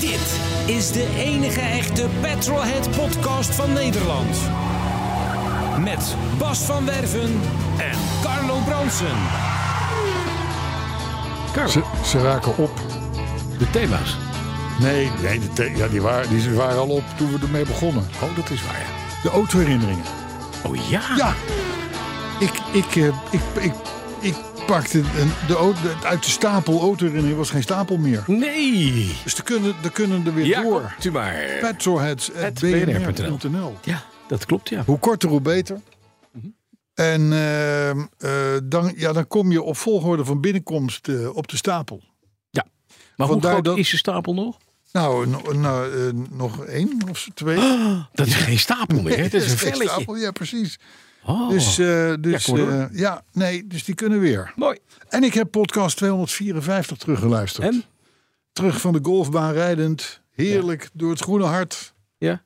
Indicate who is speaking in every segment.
Speaker 1: Dit is de enige echte Petrolhead podcast van Nederland. Met Bas van Werven en Carlo Bronsen.
Speaker 2: Ze, ze raken op.
Speaker 3: De thema's.
Speaker 2: Nee, nee de the- ja, die, waren, die waren al op toen we ermee begonnen.
Speaker 3: Oh, dat is waar. ja.
Speaker 2: De autoherinneringen.
Speaker 3: Oh ja.
Speaker 2: Ja, ik, ik, eh, ik, ik, ik pakte een, de, auto- de- uit de stapel autoherinneringen was geen stapel meer.
Speaker 3: Nee.
Speaker 2: Dus er kunnen, er kunnen er weer
Speaker 3: Ja,
Speaker 2: door.
Speaker 3: komt u maar. Het
Speaker 2: Petrolheads.bnr.nl
Speaker 3: Ja, dat klopt ja.
Speaker 2: Hoe korter, hoe beter.
Speaker 3: Mhm.
Speaker 2: En ehm, eh, dan, ja, dan kom je op volgorde van binnenkomst eh, op de stapel.
Speaker 3: ja. Maar hoe
Speaker 2: Vandaar
Speaker 3: groot
Speaker 2: dat-
Speaker 3: is de stapel nog?
Speaker 2: Nou, no- nou eh, nog één of twee.
Speaker 3: Dat is geen stapel meer. hè? Dat Oh, is een
Speaker 2: Geen
Speaker 3: velletje.
Speaker 2: stapel, Ja, precies.
Speaker 3: Oh.
Speaker 2: Dus, eh, dus
Speaker 3: kom maar door.
Speaker 2: eh, ja, nee, dus die kunnen weer.
Speaker 3: Mooi.
Speaker 2: En ik heb podcast 254 teruggeluisterd.
Speaker 3: En?
Speaker 2: Terug van de golfbaan rijdend, heerlijk door het groene hart
Speaker 3: Ja.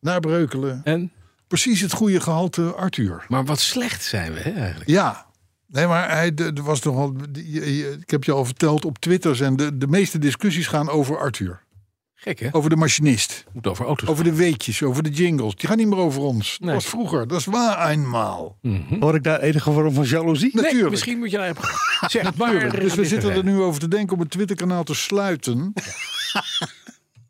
Speaker 2: naar Breukelen.
Speaker 3: En?
Speaker 2: Precies het goede gehalte Arthur.
Speaker 3: Maar wat slecht zijn we hè, eigenlijk.
Speaker 2: Ja. Nee, maar hij de- er was nogal. die- je- je- Ik heb je al verteld op Twitter. Zijn de, de meeste discussies gaan over Arthur.
Speaker 3: Gek hè?
Speaker 2: Over de machinist.
Speaker 3: Moet over auto's.
Speaker 2: Over de weetjes. Over de jingles. Die gaan niet meer over ons.
Speaker 3: Nee.
Speaker 2: Dat was vroeger. Dat is waar eenmaal.
Speaker 4: Hoor ik daar enige vorm van jaloezie?
Speaker 3: Hm? Nee,
Speaker 2: Natuurlijk.
Speaker 3: misschien moet je daar even... Zeg het maar.
Speaker 2: Dus we zitten er nu over te denken om het Twitterkanaal te sluiten.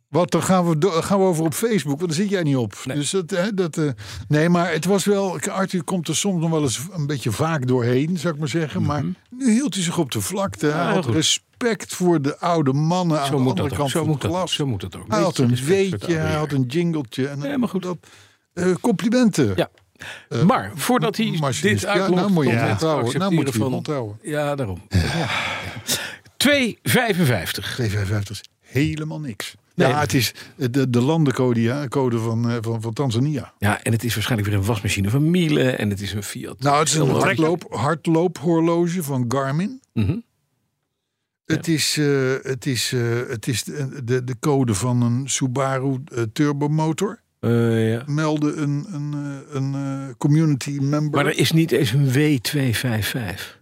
Speaker 2: Want dan gaan we, do- gaan we over op Facebook, want daar zit jij niet op. Dus dat, hè, dat, eh, nee, maar het was wel. Arthur komt er soms nog wel eens een beetje vaak doorheen, zou ik maar zeggen. Maar nu hield hij zich op de vlakte. Hij
Speaker 3: Mhm. Ja, heel
Speaker 2: had
Speaker 3: goed.
Speaker 2: respect voor de oude mannen aan
Speaker 3: Zo
Speaker 2: de
Speaker 3: moet
Speaker 2: andere
Speaker 3: dat ook.
Speaker 2: kant
Speaker 3: Zo
Speaker 2: van de
Speaker 3: moet dat ook.
Speaker 2: klas.
Speaker 3: Zo moet dat ook.
Speaker 2: Hij had een
Speaker 3: Beetje respect voor de
Speaker 2: weetje, hij
Speaker 3: oude
Speaker 2: had
Speaker 3: heren.
Speaker 2: een jingletje. En
Speaker 3: Ja, maar goed.
Speaker 2: Dat, eh, complimenten.
Speaker 3: Ja. maar voordat hij
Speaker 2: machinist.
Speaker 3: dit
Speaker 2: Ja,
Speaker 3: uitloopt...
Speaker 2: nou moet je
Speaker 3: tot
Speaker 2: hem
Speaker 3: het
Speaker 2: onthouden. Nou moet je hem
Speaker 3: accepteren
Speaker 2: onthouden.
Speaker 3: Ja, daarom. Ja. 2,55.
Speaker 2: 255 is helemaal niks.
Speaker 3: Nee.
Speaker 2: ja, het is de, de landencode ja, code van, eh, van, van Tanzania.
Speaker 3: Ja, en het is waarschijnlijk weer een wasmachine van Miele. En het is een Fiat.
Speaker 2: Nou, het is een
Speaker 3: Heel leuk.
Speaker 2: hardloop, hardloophorloge van Garmin.
Speaker 3: Mhm.
Speaker 2: Het is, eh, het is, eh, het is de, de, de code van een Subaru eh, turbomotor.
Speaker 3: Eh, ja.
Speaker 2: Meldde een, een, eh, een eh, community member.
Speaker 3: Maar er is niet eens een W255.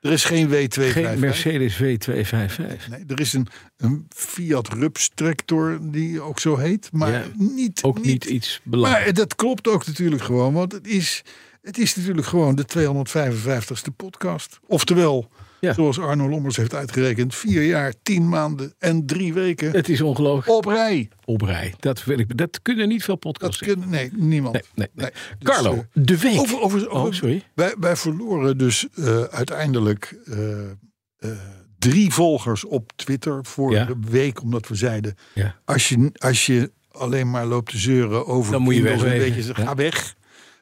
Speaker 2: er is geen W255.
Speaker 3: Geen Mercedes W255.
Speaker 2: Nee, er is een, een Fiat Rups tractor die ook zo heet. Maar
Speaker 3: Ja,
Speaker 2: niet,
Speaker 3: Ook niet iets belangrijks.
Speaker 2: Maar dat klopt ook natuurlijk gewoon, want het is, het is natuurlijk gewoon de 255ste podcast. Oftewel,
Speaker 3: Ja.
Speaker 2: zoals Arno Lommers heeft uitgerekend, vier jaar, tien maanden en drie weken
Speaker 3: Het is ongelooflijk.
Speaker 2: op rij.
Speaker 3: Op rij. Dat, weet ik, dat kunnen niet veel
Speaker 2: Dat
Speaker 3: podcasts in.
Speaker 2: kunnen, nee, niemand.
Speaker 3: Nee, nee, nee.
Speaker 2: Dus,
Speaker 3: Carlo,
Speaker 2: eh,
Speaker 3: de week.
Speaker 2: over, over, over-
Speaker 3: oh, sorry.
Speaker 2: Wij, wij verloren dus eh, uiteindelijk eh, eh, drie volgers op Twitter vorige week. Omdat we zeiden,
Speaker 3: Ja.
Speaker 2: als, je, als je alleen maar loopt te zeuren over...
Speaker 3: Dan moet je
Speaker 2: Kindles en
Speaker 3: wegwezen,
Speaker 2: Weet je,
Speaker 3: ja.
Speaker 2: ga weg.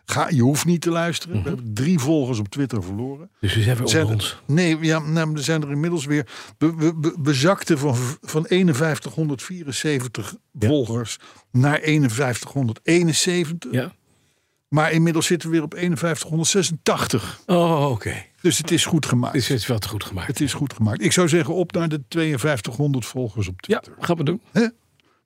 Speaker 2: Ga, je hoeft niet te luisteren. We hebben drie volgers op Twitter verloren.
Speaker 3: Dus we zijn weer
Speaker 2: Zijn
Speaker 3: onder
Speaker 2: er-
Speaker 3: ons.
Speaker 2: Nee, ja, nou, er zijn er inmiddels weer. We, we, we, we zakten van, van 5174 volgers naar 5171.
Speaker 3: Ja.
Speaker 2: Maar inmiddels zitten we weer op 5186.
Speaker 3: Oh, oké.
Speaker 2: Dus het is goed gemaakt.
Speaker 3: Dus het is wel te goed gemaakt.
Speaker 2: Het is goed gemaakt. Ik zou zeggen op naar de 5200 volgers op
Speaker 3: Ja,
Speaker 2: Twitter.
Speaker 3: gaan we doen.
Speaker 2: Hè?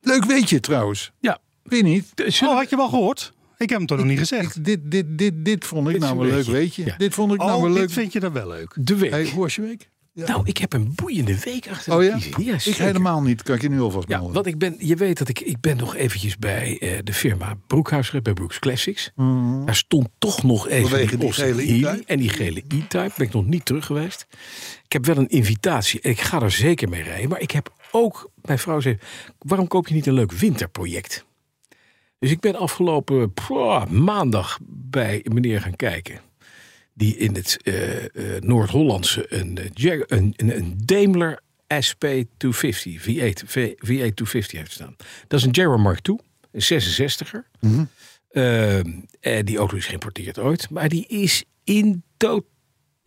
Speaker 2: Leuk weet je trouwens.
Speaker 3: Ja.
Speaker 2: Weet je niet?
Speaker 3: De-
Speaker 4: Oh,
Speaker 3: zullen-
Speaker 4: had je wel gehoord? Ik heb hem toch nog niet gezegd.
Speaker 2: Ik, dit, dit, dit, dit vond ik
Speaker 3: Dit is
Speaker 2: nou
Speaker 3: een
Speaker 2: wel leuk
Speaker 3: weetje.
Speaker 2: weet je.
Speaker 3: Ja.
Speaker 2: Dit vond ik nou
Speaker 4: Oh,
Speaker 2: wel
Speaker 4: dit
Speaker 2: leuk.
Speaker 4: vind je dan wel leuk.
Speaker 3: De week.
Speaker 2: Hey, hoe was je week? Ja.
Speaker 3: Nou, ik heb een boeiende week achter
Speaker 2: Oh
Speaker 3: de
Speaker 2: ja?
Speaker 3: kiezen. Ja,
Speaker 2: ik
Speaker 3: zeker.
Speaker 2: helemaal niet. Kan ik je nu alvast
Speaker 3: Ja,
Speaker 2: melden.
Speaker 3: want ik ben, je weet dat ik, ik ben nog eventjes bij eh, de firma Broekhuis, bij Brooks Classics. Daar stond toch nog even
Speaker 2: Vanwege die
Speaker 3: Austin
Speaker 2: gele
Speaker 3: Healey
Speaker 2: E-Type?
Speaker 3: En die gele E-Type ben ik nog niet terug geweest. Ik heb wel een invitatie en ik ga er zeker mee rijden. Maar ik heb ook, mijn vrouw zei, waarom koop je niet een leuk winterproject? Dus ik ben afgelopen pwa, maandag bij een meneer gaan kijken. Die in het eh, eh, Noord-Hollandse een, eh, Jag- een, een, een Daimler SP250, V8, v, V8-250 heeft staan. Dat is een Jaguar Mark II, een 66er. Ehm, Eh, eh, die auto is geïmporteerd ooit. Maar die is in totaal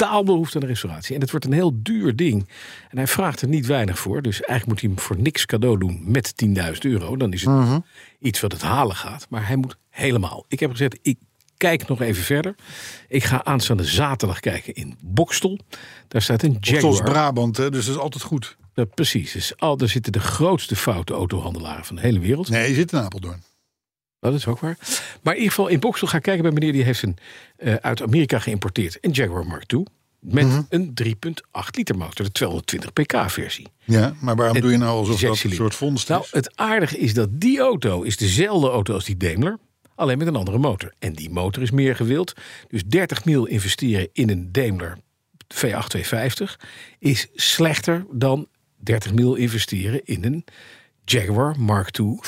Speaker 3: totaal behoefte aan restauratie. En het wordt een heel duur ding. En hij vraagt er niet weinig voor. Dus eigenlijk moet hij hem voor niks cadeau doen met 10.000 euro. Dan is het iets wat het halen gaat. Maar hij moet helemaal. Ik heb gezegd, ik kijk nog even verder. Ik ga aanstaande zaterdag kijken in Bokstel. Daar staat een
Speaker 2: Zoals
Speaker 3: Jaguar.
Speaker 2: Brabant, hè, dus dat is altijd goed.
Speaker 3: Ja, precies. Dus al, daar zitten de grootste foute autohandelaren van de hele wereld.
Speaker 2: Nee, je zit in Apeldoorn.
Speaker 3: Dat is ook waar. Maar in ieder geval in Boksel ga ik kijken bij meneer die heeft een eh, uit Amerika geïmporteerd een Jaguar Mark II met
Speaker 2: Mhm.
Speaker 3: een 3.8 liter motor, de 220 pk versie.
Speaker 2: Ja, maar waarom
Speaker 3: En
Speaker 2: doe je nou alsof dat een
Speaker 3: zescilinder.
Speaker 2: soort vondst
Speaker 3: Nou,
Speaker 2: is?
Speaker 3: het aardige is dat die auto is dezelfde auto als die Daimler, alleen met een andere motor. En die motor is meer gewild. Dus 30 mil investeren in een Daimler V8 250 is slechter dan 30 mil investeren in een Jaguar Mark II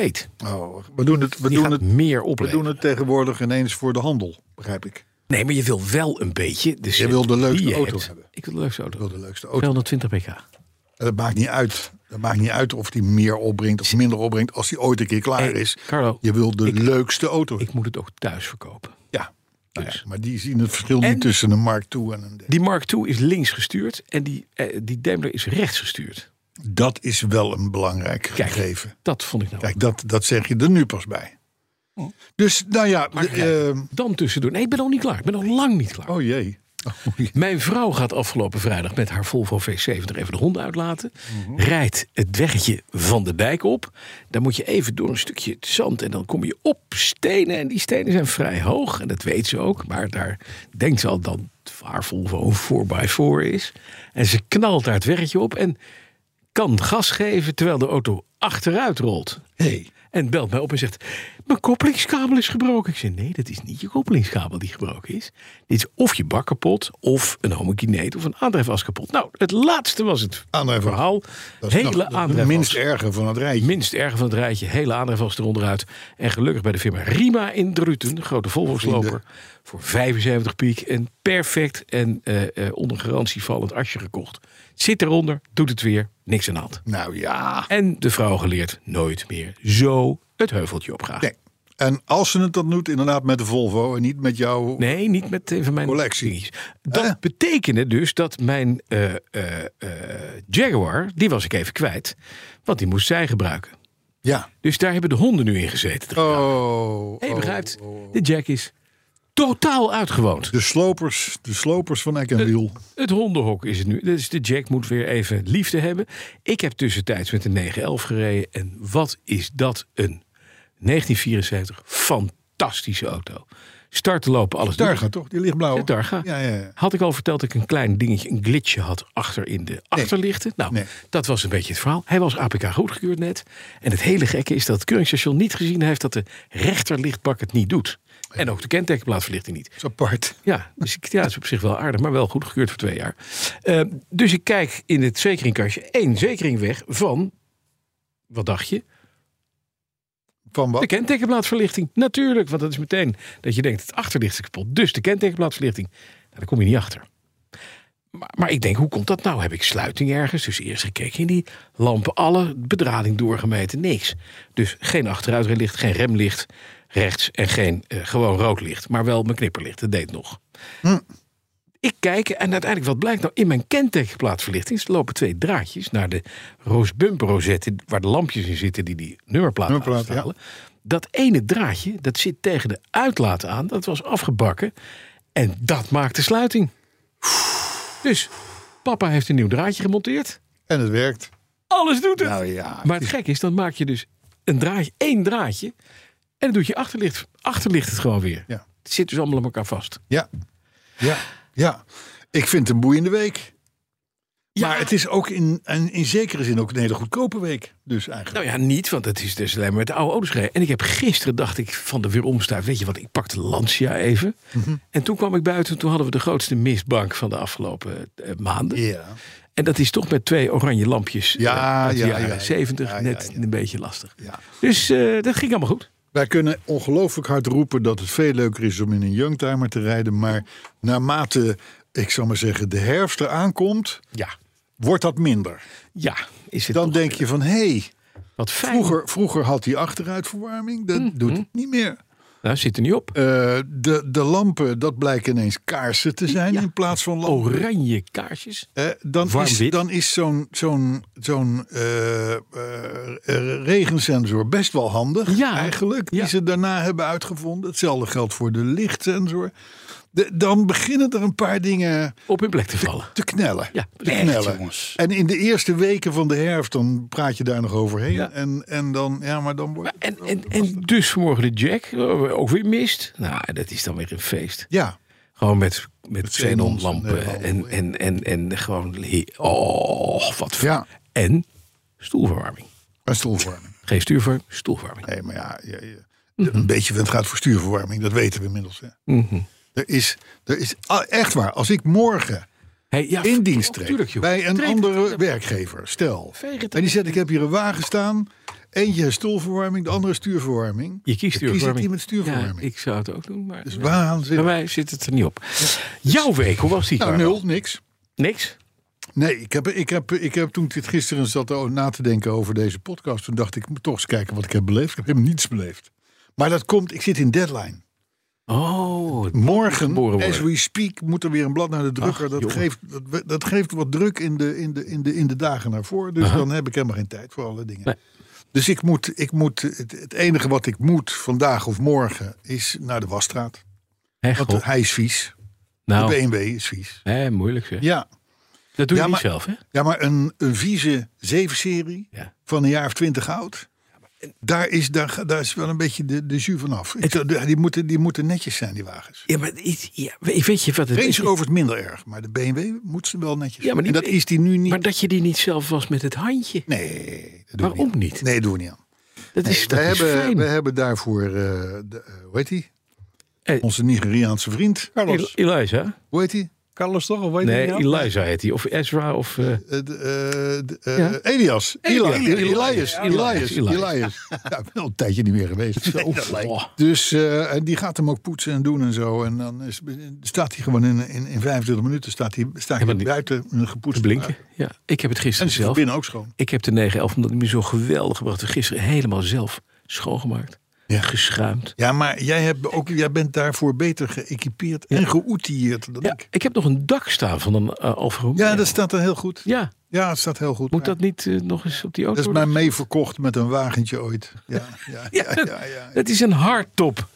Speaker 3: 3.8.
Speaker 2: Oh, we doen het, we
Speaker 3: Die
Speaker 2: doen
Speaker 3: gaat
Speaker 2: het,
Speaker 3: meer
Speaker 2: we
Speaker 3: opleveren.
Speaker 2: doen het tegenwoordig ineens voor de handel, begrijp ik.
Speaker 3: Nee, maar je wil wel een beetje. De set
Speaker 2: wil de
Speaker 3: die
Speaker 2: leukste
Speaker 3: je
Speaker 2: auto
Speaker 3: hebt.
Speaker 2: hebben.
Speaker 3: Ik wil de leukste auto.
Speaker 2: Ik wil de leukste Oh, auto.
Speaker 3: 220 pk.
Speaker 2: En Dat maakt niet uit. Dat maakt niet uit of die meer opbrengt of minder opbrengt. Als die ooit een keer klaar
Speaker 3: Hey,
Speaker 2: is.
Speaker 3: Carlo,
Speaker 2: je wil de
Speaker 3: ik-
Speaker 2: leukste auto.
Speaker 3: Ik moet het ook thuis verkopen.
Speaker 2: ja. Nou ja,
Speaker 3: Dus.
Speaker 2: Maar die zien het verschil
Speaker 3: En-
Speaker 2: niet tussen een Mark II en een...
Speaker 3: Die Mark II is links gestuurd en die, eh, die Daimler is rechts gestuurd.
Speaker 2: Dat is wel een belangrijk
Speaker 3: Kijk.
Speaker 2: gegeven.
Speaker 3: Dat vond ik nou.
Speaker 2: Kijk, dat, dat zeg je er nu pas bij.
Speaker 3: Oh.
Speaker 2: Dus, nou ja...
Speaker 3: Maar
Speaker 2: de,
Speaker 3: kijk,
Speaker 2: eh,
Speaker 3: dan tussendoor. Nee, ik ben nog niet klaar. Ik ben nog lang niet klaar.
Speaker 2: oh jee.
Speaker 3: Mijn vrouw gaat afgelopen vrijdag met haar Volvo V70 even de honden uitlaten. Rijdt het weggetje van de dijk op. Dan moet je even door een stukje zand en dan kom je op stenen. En die stenen zijn vrij hoog en dat weet ze ook. Maar daar denkt ze al dat haar Volvo een 4x4 is. En ze knalt daar het weggetje op en kan gas geven terwijl de auto achteruit rolt.
Speaker 2: Hey.
Speaker 3: En belt mij op en zegt: Mijn koppelingskabel is gebroken. Ik zeg: Nee, dat is niet je koppelingskabel die gebroken is. Dit is of je bak kapot, of een homokineet, of een aandrijfas kapot. Nou, het laatste was het
Speaker 2: Aandrijfas.
Speaker 3: verhaal.
Speaker 2: Dat is nog-
Speaker 3: hele
Speaker 2: dat is het minst
Speaker 3: aandrijfas.
Speaker 2: erge van het rijtje.
Speaker 3: Minst erg van het rijtje, hele aandrijfas eronder uit. En gelukkig bij de firma Rima in Druten, de grote Volvo-sloper,
Speaker 2: Vrienden.
Speaker 3: voor 75 piek. En perfect en eh, eh, onder garantie vallend asje gekocht. Zit eronder, doet het weer, niks aan de hand.
Speaker 2: Nou ja.
Speaker 3: En de vrouw geleerd nooit meer zo het heuveltje opgaan.
Speaker 2: Nee. En als ze het dan doet, inderdaad met de Volvo en niet met jou.
Speaker 3: Nee, niet met een van mijn
Speaker 2: Collectie.
Speaker 3: dingetjes. Dat
Speaker 2: Eh?
Speaker 3: betekende dus dat mijn eh, eh, eh, Jaguar, die was ik even kwijt, want die moest zij gebruiken.
Speaker 2: Ja.
Speaker 3: Dus daar hebben de honden nu in gezeten. Oh,
Speaker 2: Oh.
Speaker 3: hey,
Speaker 2: oh.
Speaker 3: begrijpt, de Jack is totaal uitgewoond.
Speaker 2: De slopers, de slopers van Eck
Speaker 3: Eh,
Speaker 2: en Wiel.
Speaker 3: Het hondenhok is het nu. Dus de Jack moet weer even liefde hebben. Ik heb tussentijds met de 911 gereden. En wat is dat een 1974 fantastische auto. Starten, lopen, alles. door.
Speaker 2: Targa, toch? Die lichtblauwe.
Speaker 3: De Targa.
Speaker 2: Ja, ja, ja.
Speaker 3: Had ik al verteld dat ik een klein dingetje, een glitchje had achter in de achterlichten? Nou,
Speaker 2: Nee.
Speaker 3: dat was een beetje het verhaal. Hij was APK goedgekeurd net. En het hele gekke is dat het keuringstation niet gezien heeft dat de rechterlichtbak het niet doet. En ook de kentekenplaatsverlichting niet.
Speaker 2: Dat is apart.
Speaker 3: Ja, dus ik, ja, dat is op zich wel aardig, maar wel goedgekeurd voor twee jaar. Eh, dus ik kijk in het zekeringkastje één zekering weg van, wat dacht je?
Speaker 2: Van wat?
Speaker 3: De kentekenplaatsverlichting. Natuurlijk, want dat is meteen dat je denkt het achterlicht is kapot. Dus de kentekenplaatsverlichting, nou, daar kom je niet achter. Maar, maar ik denk, hoe komt dat nou? Heb ik sluiting ergens? Dus eerst gekeken in die lampen, alle bedrading doorgemeten, niks. Dus geen achteruitrijlicht, geen remlicht rechts en geen eh, gewoon rood licht. Maar wel mijn knipperlicht, dat deed nog. Ik kijk en uiteindelijk wat blijkt nou in mijn kentekenplaatsverlichting er lopen twee draadjes naar de roosbumperrosette waar de lampjes in zitten die die nummerplaat,
Speaker 2: Nummerplaat,
Speaker 3: uitstralen. Dat ene draadje dat zit tegen de uitlaat aan, dat was afgebakken en dat maakt de sluiting. Dus papa heeft een nieuw draadje gemonteerd.
Speaker 2: En het werkt.
Speaker 3: Alles doet het.
Speaker 2: Nou ja.
Speaker 3: Maar het gek is, dan maak je dus een draadje, één draadje en dan doet je achterlicht, achterlicht het gewoon weer.
Speaker 2: Ja.
Speaker 3: Het zit dus allemaal aan elkaar vast.
Speaker 2: Ja. Ja. Ja. Ik vind het een boeiende week. Maar het is ook in, en in zekere zin ook een hele goedkope week. Dus eigenlijk.
Speaker 3: Nou ja, niet, want het is dus alleen maar met de oude auto's gereden. En ik heb gisteren, dacht ik, van de weeromstuit, weet je wat, ik pakte Lancia even.
Speaker 2: Mhm.
Speaker 3: En toen kwam ik buiten, toen hadden we de grootste mistbank van de afgelopen eh, maanden.
Speaker 2: Ja.
Speaker 3: En dat is toch met twee oranje lampjes
Speaker 2: Ja,
Speaker 3: eh, uit de
Speaker 2: ja,
Speaker 3: jaren
Speaker 2: ja, ja,
Speaker 3: 70
Speaker 2: ja, ja,
Speaker 3: net
Speaker 2: ja.
Speaker 3: een beetje lastig.
Speaker 2: ja.
Speaker 3: Dus eh, dat ging allemaal goed.
Speaker 2: Wij kunnen ongelooflijk hard roepen dat het veel leuker is om in een youngtimer te rijden. Maar naarmate, ik zal maar zeggen, de herfst eraan komt,
Speaker 3: Ja.
Speaker 2: wordt dat minder.
Speaker 3: Ja, is het
Speaker 2: Dan
Speaker 3: toch
Speaker 2: denk je van, hé, hey,
Speaker 3: wat fijn. Hm.
Speaker 2: vroeger, vroeger had hij achteruitverwarming. Dat doet het niet meer.
Speaker 3: Nou, zit er niet op.
Speaker 2: Eh, de, de lampen, dat blijken ineens kaarsen te zijn in plaats van lampen.
Speaker 3: Oranje kaarsjes.
Speaker 2: Eh, dan,
Speaker 3: Oh, Warm
Speaker 2: is,
Speaker 3: wit.
Speaker 2: dan is zo'n zo'n zo'n eh, eh, eh, regensensor best wel handig
Speaker 3: Ja.
Speaker 2: eigenlijk. Die
Speaker 3: Ja.
Speaker 2: ze daarna hebben uitgevonden. Hetzelfde geldt voor de lichtsensor. De- dan beginnen er een paar dingen
Speaker 3: Op hun plek te vallen.
Speaker 2: te knellen.
Speaker 3: Ja,
Speaker 2: te
Speaker 3: echt,
Speaker 2: knellen.
Speaker 4: jongens.
Speaker 2: En in de eerste weken van de herfst dan praat je daar nog overheen.
Speaker 3: Ja.
Speaker 2: En, en dan, ja, maar dan wordt
Speaker 3: En, en, en dus vanmorgen de Jack, eh, ook weer mist. Nou, dat is dan weer een feest.
Speaker 2: Ja,
Speaker 3: Gewoon met, met
Speaker 2: xenons
Speaker 3: xenonlampen en,
Speaker 2: en- eh,
Speaker 3: en, en, en gewoon... he- Oh, wat fijn.
Speaker 2: Ja.
Speaker 3: En stoelverwarming.
Speaker 2: een stoelverwarming.
Speaker 3: Geen stuurverwarming, stoelverwarming.
Speaker 2: Nee, maar ja, je- je-
Speaker 3: Mhm.
Speaker 2: een beetje het gaat voor stuurverwarming. Dat weten we inmiddels. Hè. Er is, er is ah, echt waar. Als ik morgen
Speaker 3: Hey, ja,
Speaker 2: in dienst
Speaker 3: oh,
Speaker 2: treed
Speaker 3: tuurlijk, joh.
Speaker 2: bij een
Speaker 3: Treed.
Speaker 2: andere werkgever, stel.
Speaker 3: Veeg het
Speaker 2: En die zegt, ik heb hier een wagen staan. Eentje heeft stoelverwarming, de andere is stuurverwarming.
Speaker 3: Je
Speaker 2: Dan
Speaker 3: kiest
Speaker 2: kies ik
Speaker 3: stuurverwarming.
Speaker 2: die met stuurverwarming.
Speaker 3: Ja, ik zou het ook doen, maar
Speaker 2: Dus
Speaker 3: bij
Speaker 2: waanzinnig.
Speaker 3: mij zit het er niet op. Jouw week, hoe was die?
Speaker 2: Nou,
Speaker 3: Carlo?
Speaker 2: nul, niks.
Speaker 3: Niks?
Speaker 2: Nee, ik heb, ik, heb, ik heb toen ik dit gisteren zat o- na te denken over deze podcast. Toen dacht ik, ik moet toch eens kijken wat ik heb beleefd. Ik heb helemaal niets beleefd. Maar dat komt, ik zit in deadline.
Speaker 3: Oh,
Speaker 2: Morgen,
Speaker 3: Geboren
Speaker 2: as
Speaker 3: worden.
Speaker 2: we speak, moet er weer een blad naar de drukker.
Speaker 3: Ach,
Speaker 2: dat,
Speaker 3: jongen.
Speaker 2: geeft, dat, we- dat geeft wat druk in de, in de, in de, in de dagen naar voren. Dus dan heb ik helemaal geen tijd voor alle dingen.
Speaker 3: Nee.
Speaker 2: Dus ik moet, ik moet het, het enige wat ik moet vandaag of morgen is naar de wasstraat.
Speaker 3: hechel.
Speaker 2: Want hij is vies. De
Speaker 3: nou,
Speaker 2: BMW is vies.
Speaker 3: hè, moeilijk zeg.
Speaker 2: Ja,
Speaker 3: Dat doe
Speaker 2: Ja,
Speaker 3: je niet
Speaker 2: maar-
Speaker 3: zelf, hè?
Speaker 2: ja maar een, een vieze 7-serie
Speaker 3: Ja.
Speaker 2: van een jaar of twintig oud. Daar is, daar, daar is wel een beetje de, de jus vanaf. Ik zou- Die moeten, die moeten netjes zijn, die wagens.
Speaker 3: Ja, maar iets, ja, weet je wat het
Speaker 2: Range Rover is minder erg, maar de BMW moet ze wel netjes.
Speaker 3: Ja, maar die-
Speaker 2: en dat is die nu niet.
Speaker 3: Maar dat je die niet zelf was met het handje.
Speaker 2: nee, dat doen we
Speaker 3: Waarom
Speaker 2: niet.
Speaker 3: niet?
Speaker 2: aan. Nee, doen we niet aan.
Speaker 3: Dat is,
Speaker 2: we,
Speaker 3: dat is
Speaker 2: hebben,
Speaker 3: fijn.
Speaker 2: we hebben daarvoor, eh, de, eh, hoe heet die?
Speaker 3: Eh.
Speaker 2: Onze Nigeriaanse vriend.
Speaker 3: El- Eliza?
Speaker 2: Hoe heet die?
Speaker 4: Carlos toch? Of weet
Speaker 3: Nee,
Speaker 4: je dat?
Speaker 3: Eliza heet hij. Of Ezra, of... eh,
Speaker 2: Eh, de, eh, de, eh,
Speaker 3: Ja.
Speaker 2: Elias. Eli-
Speaker 3: Elias.
Speaker 2: Elias. Elias.
Speaker 3: Ja,
Speaker 2: Elias.
Speaker 3: Elias.
Speaker 2: Elias. Ja, wel een tijdje niet meer geweest. Zo.
Speaker 3: oh,
Speaker 2: Dus eh, en die gaat hem ook poetsen en doen en zo. En dan is, staat hij gewoon in, in, in 25 minuten staat hij, staat
Speaker 3: Ja,
Speaker 2: hij
Speaker 3: maar die-
Speaker 2: buiten een gepoetst.
Speaker 3: blinken. Ja, ik heb het
Speaker 2: En
Speaker 3: gisteren
Speaker 2: ze
Speaker 3: zelf.
Speaker 2: binnen ook schoon.
Speaker 3: Ik heb de 911, omdat ik me zo geweldig gebracht gisteren helemaal zelf schoongemaakt.
Speaker 2: Ja.
Speaker 3: Geschuimd.
Speaker 2: Ja, maar jij, hebt ook, jij bent daarvoor beter geëquipeerd en geoutilleerd dan
Speaker 3: Ja,
Speaker 2: ik.
Speaker 3: ik heb nog een dak staan van een eh Alfa Romeo.
Speaker 2: Ja, dat staat er heel goed.
Speaker 3: Ja,
Speaker 2: Ja, het staat heel goed.
Speaker 3: moet
Speaker 2: Maar
Speaker 3: dat niet eh, nog eens op die auto
Speaker 2: dat is mij
Speaker 3: worden?
Speaker 2: meeverkocht met een wagentje ooit. Ja, ja, ja, ja, ja, ja.
Speaker 3: Dat is een hardtop.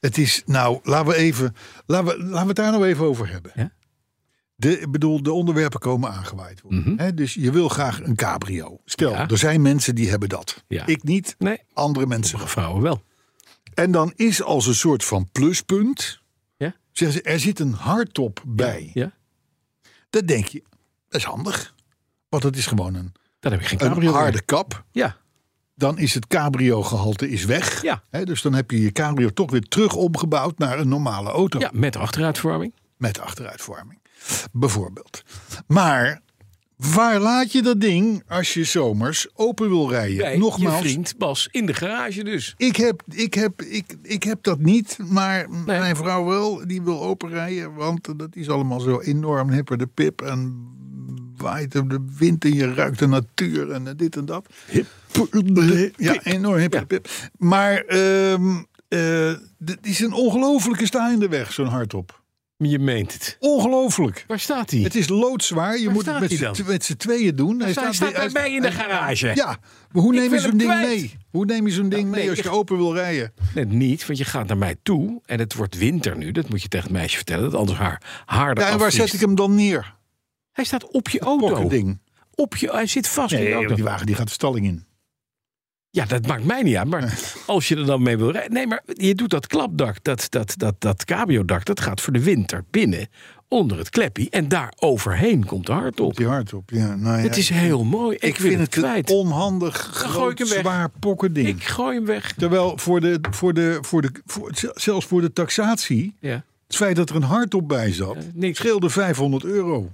Speaker 2: Het is, nou, laten we, even, laten, we, laten we het daar nou even over hebben.
Speaker 3: Ja.
Speaker 2: De, ik bedoel, de onderwerpen komen aangewaaid worden. Hè, dus je wil graag een cabrio. Stel,
Speaker 3: Mhm. Ja.
Speaker 2: er zijn mensen die hebben dat.
Speaker 3: Ja.
Speaker 2: Ik niet,
Speaker 3: Nee,
Speaker 2: andere mensen
Speaker 3: sommige vrouwen wel.
Speaker 2: En dan is als een soort van pluspunt.
Speaker 3: Ja.
Speaker 2: Zeggen ze, er zit een hardtop bij.
Speaker 3: Ja,
Speaker 2: Dan denk je, dat is handig. Want het is gewoon een,
Speaker 3: dan heb ik geen
Speaker 2: een
Speaker 3: cabrio.
Speaker 2: harde
Speaker 3: meer.
Speaker 2: kap.
Speaker 3: Ja,
Speaker 2: Dan is het cabrio-gehalte is weg.
Speaker 3: Ja.
Speaker 2: Hè, dus dan heb je je cabrio toch weer terug omgebouwd naar een normale auto.
Speaker 3: ja, met achteruitverwarming.
Speaker 2: Met achteruitvorming. Bijvoorbeeld. Maar waar laat je dat ding als je zomers open wil rijden?
Speaker 3: Bij
Speaker 2: Nogmaals,
Speaker 3: je vriend Bas in de garage dus.
Speaker 2: Ik heb, ik, heb, ik, ik heb dat niet, maar m-
Speaker 3: Nee.
Speaker 2: mijn vrouw wel. Die wil openrijden, want dat is allemaal zo enorm hipper de pip. En waait er de wind en je ruikt de natuur en eh, dit en dat. Hipper de Ja, enorm hipper de pip. Maar ehm eh, dit is een ongelofelijke sta in de weg, zo'n hardop.
Speaker 3: Je meent het.
Speaker 2: Ongelooflijk.
Speaker 3: Waar staat hij?
Speaker 2: Het is loodzwaar. Je
Speaker 3: Waar
Speaker 2: moet het
Speaker 3: staat
Speaker 2: met
Speaker 3: hij
Speaker 2: z'n
Speaker 3: dan?
Speaker 2: tw- met z'n tweeën doen.
Speaker 3: Hij staat,
Speaker 2: weer-
Speaker 3: bij mij in de garage.
Speaker 2: Ja, maar hoe neem je
Speaker 3: wil
Speaker 2: zo'n
Speaker 3: hem
Speaker 2: ding
Speaker 3: kwijt. Nou,
Speaker 2: mee? Hoe neem je zo'n ding
Speaker 3: nee,
Speaker 2: mee als
Speaker 3: ik-
Speaker 2: je open wil rijden?
Speaker 3: Net niet, want je gaat naar mij toe en het wordt winter nu. Dat moet je tegen het meisje vertellen, dat anders haar haar
Speaker 2: Ja, en waar zet ik hem dan neer?
Speaker 3: Hij staat op je auto.
Speaker 2: Pokkending.
Speaker 3: Op je, hij zit vast in je auto.
Speaker 2: die wagen die gaat de stalling in.
Speaker 3: Ja, dat maakt mij niet uit. Maar als je er dan mee wil rijden. Nee, maar je doet dat klapdak, dat, dat, dat, dat cabrio-dak, dat gaat voor de winter binnen onder het kleppie. En daar overheen komt de hard op.
Speaker 2: Die hard op. Ja, nou ja.
Speaker 3: Het is heel mooi. Ik,
Speaker 2: ik
Speaker 3: wil
Speaker 2: vind
Speaker 3: het
Speaker 2: het een
Speaker 3: kwijt.
Speaker 2: onhandig,
Speaker 3: gooi
Speaker 2: groot,
Speaker 3: ik hem weg.
Speaker 2: zwaar pokkending.
Speaker 3: Ik gooi hem weg.
Speaker 2: Terwijl voor de, voor de, voor de, voor- zelfs voor de taxatie,
Speaker 3: Ja.
Speaker 2: het feit dat er een hardtop bij zat,
Speaker 3: Eh, niks.
Speaker 2: scheelde 500 euro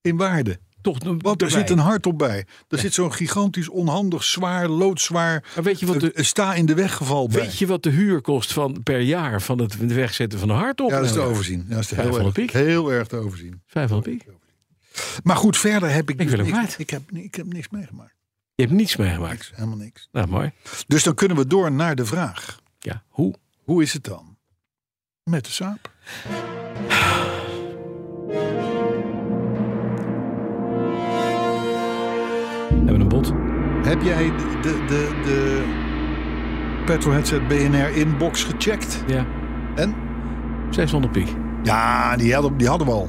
Speaker 2: in waarde.
Speaker 3: Toch, een-
Speaker 2: Want er
Speaker 3: erbij.
Speaker 2: zit een hardtop bij. Er zit zo'n gigantisch, onhandig, zwaar, loodzwaar,
Speaker 3: Maar weet je wat de-
Speaker 2: eh, sta in de weg geval bij.
Speaker 3: Weet je wat de huur kost van, per jaar van het wegzetten van de hard op?
Speaker 2: ja, dat is te overzien. Ja, dat is te heel,
Speaker 3: 500
Speaker 2: erg,
Speaker 3: piek.
Speaker 2: heel erg te overzien.
Speaker 3: 500 piek.
Speaker 2: Maar goed, verder heb ik, dus
Speaker 3: Ik wil hem
Speaker 2: niks,
Speaker 3: kwijt.
Speaker 2: ik, heb, ik heb niks meegemaakt.
Speaker 3: Je hebt niets meegemaakt.
Speaker 2: Niks, helemaal niks.
Speaker 3: Nou, mooi.
Speaker 2: Dus dan kunnen we door naar de vraag.
Speaker 3: Ja, hoe?
Speaker 2: Hoe is het dan? Met de saap.
Speaker 3: Hebben we een bot?
Speaker 2: Heb jij de, de, de, de Petroheadset BNR inbox gecheckt?
Speaker 3: Ja.
Speaker 2: En?
Speaker 3: 600 piek.
Speaker 2: Ja, die hadden, die hadden we al.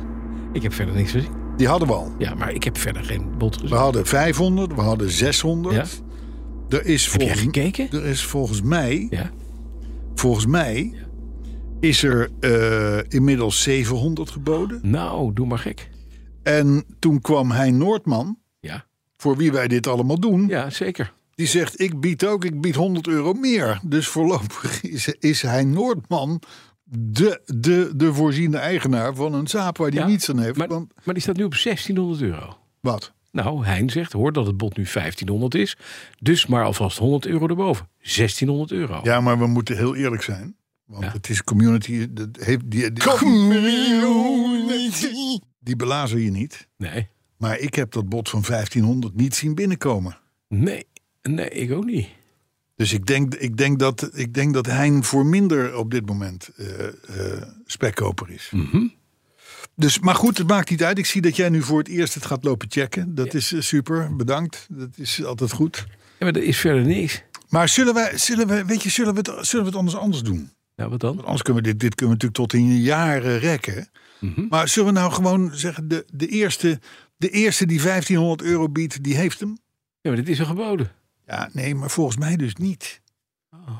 Speaker 3: Ik heb verder niks gezien.
Speaker 2: Die hadden we al.
Speaker 3: Ja, maar ik heb verder geen bot
Speaker 2: We
Speaker 3: gezien.
Speaker 2: hadden 500, we hadden 600. Er is
Speaker 3: Heb jij
Speaker 2: volgens,
Speaker 3: gekeken?
Speaker 2: er is volgens mij,
Speaker 3: Ja.
Speaker 2: volgens mij is er eh, inmiddels 700 geboden.
Speaker 3: Nou, doe maar gek.
Speaker 2: En toen kwam Hein Noordman,
Speaker 3: Ja,
Speaker 2: voor wie wij dit allemaal doen,
Speaker 3: ja zeker.
Speaker 2: die zegt: Ik bied ook, ik bied 100 euro meer. Dus voorlopig is, is Hein Noordman de, de, de voorziende eigenaar van een zaap waar die
Speaker 3: Ja,
Speaker 2: niets aan heeft.
Speaker 3: Maar,
Speaker 2: want,
Speaker 3: maar die staat nu op 1600 euro.
Speaker 2: wat?
Speaker 3: Nou, Hein zegt, hoor dat het bod nu 1500 is. Dus maar alvast 100 euro erboven. 1600 euro.
Speaker 2: Ja, maar we moeten heel eerlijk zijn. Want
Speaker 3: Ja.
Speaker 2: het is community. Dat heeft, die, die, community. Die belazen je niet.
Speaker 3: Nee,
Speaker 2: Maar ik heb dat bod van 1500 niet zien binnenkomen.
Speaker 3: nee, nee, ik ook niet.
Speaker 2: Dus ik denk, ik denk, dat, ik denk dat Hein voor minder op dit moment eh, eh, spekkoper is. Dus, maar goed, het maakt niet uit. Ik zie dat jij nu voor het eerst het gaat lopen checken. Dat is eh, super, bedankt. Dat is altijd goed.
Speaker 3: Ja, maar er is verder niks.
Speaker 2: Maar zullen, wij, zullen, wij, weet je, zullen, we, het, zullen we het anders anders doen?
Speaker 3: Nou, wat dan?
Speaker 2: Want anders kunnen we dit, dit kunnen we natuurlijk tot in jaren rekken. Maar zullen we nou gewoon zeggen, de, de, eerste, de eerste die 1500 euro biedt, die heeft hem?
Speaker 3: Ja, maar dit is een geboden.
Speaker 2: Ja, nee, maar volgens mij dus niet.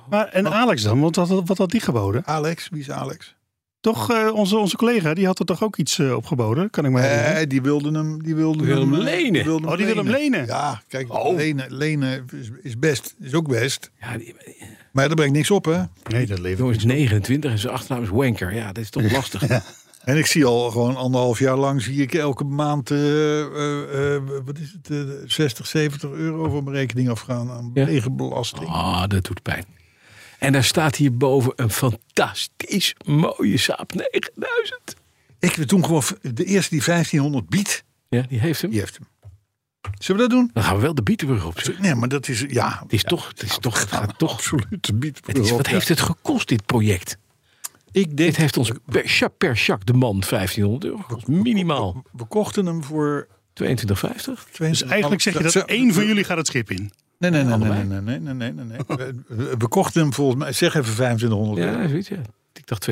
Speaker 4: Maar, en Alex dan, want wat, had- wat had die geboden?
Speaker 2: Alex, wie is Alex?
Speaker 4: Toch, eh, onze, onze collega, die had er toch ook iets eh, op geboden? Kan ik me herinneren.
Speaker 2: Eh, die wilden hem, die wilden
Speaker 3: Die wilden hem
Speaker 2: eh,
Speaker 3: lenen.
Speaker 2: wilden
Speaker 4: Oh, die wilden hem lenen.
Speaker 2: Ja, kijk,
Speaker 3: Oh.
Speaker 2: lenen, lenen is, is best, is ook best.
Speaker 3: Ja, die,
Speaker 2: Maar daar brengt niks op, hè?
Speaker 4: nee, dat levert
Speaker 3: jongens, 29 en zijn achternaam is Wanker. Ja, dat is toch lastig.
Speaker 2: En ik zie al gewoon anderhalf jaar lang, zie ik elke maand, eh, eh, eh, wat is het, eh, 60, 70 euro van mijn rekening afgaan aan
Speaker 3: Ja.
Speaker 2: wegenbelasting.
Speaker 3: Ah, dat doet pijn. En daar staat hierboven een fantastisch mooie Saab 9000.
Speaker 2: Ik wil toen gewoon de eerste die 1500 biedt,
Speaker 3: Ja, die heeft hem.
Speaker 2: die heeft hem. Zullen we dat doen?
Speaker 3: Dan gaan we wel de Bietenburg op. zeg.
Speaker 2: Nee, maar dat is ja,
Speaker 3: Het is toch, het is toch, het gaat toch.
Speaker 2: absoluut de bied.
Speaker 3: Het is, wat heeft het gekost, dit project?
Speaker 2: Ik
Speaker 3: Dit
Speaker 2: denk
Speaker 3: heeft ons per, cha- per Jacques de Man 1500 euro gekost. Minimaal
Speaker 2: we kochten hem voor Nou,
Speaker 3: 22,50.
Speaker 4: Dus eigenlijk zeg je dat één van jullie gaat het schip in.
Speaker 2: Nee, nee, nee, nee, nee, nee, nee, nee, nee, nee. We, we kochten hem volgens mij zeg even 2500 euro.
Speaker 3: Ja, zoiets, ja. Ik dacht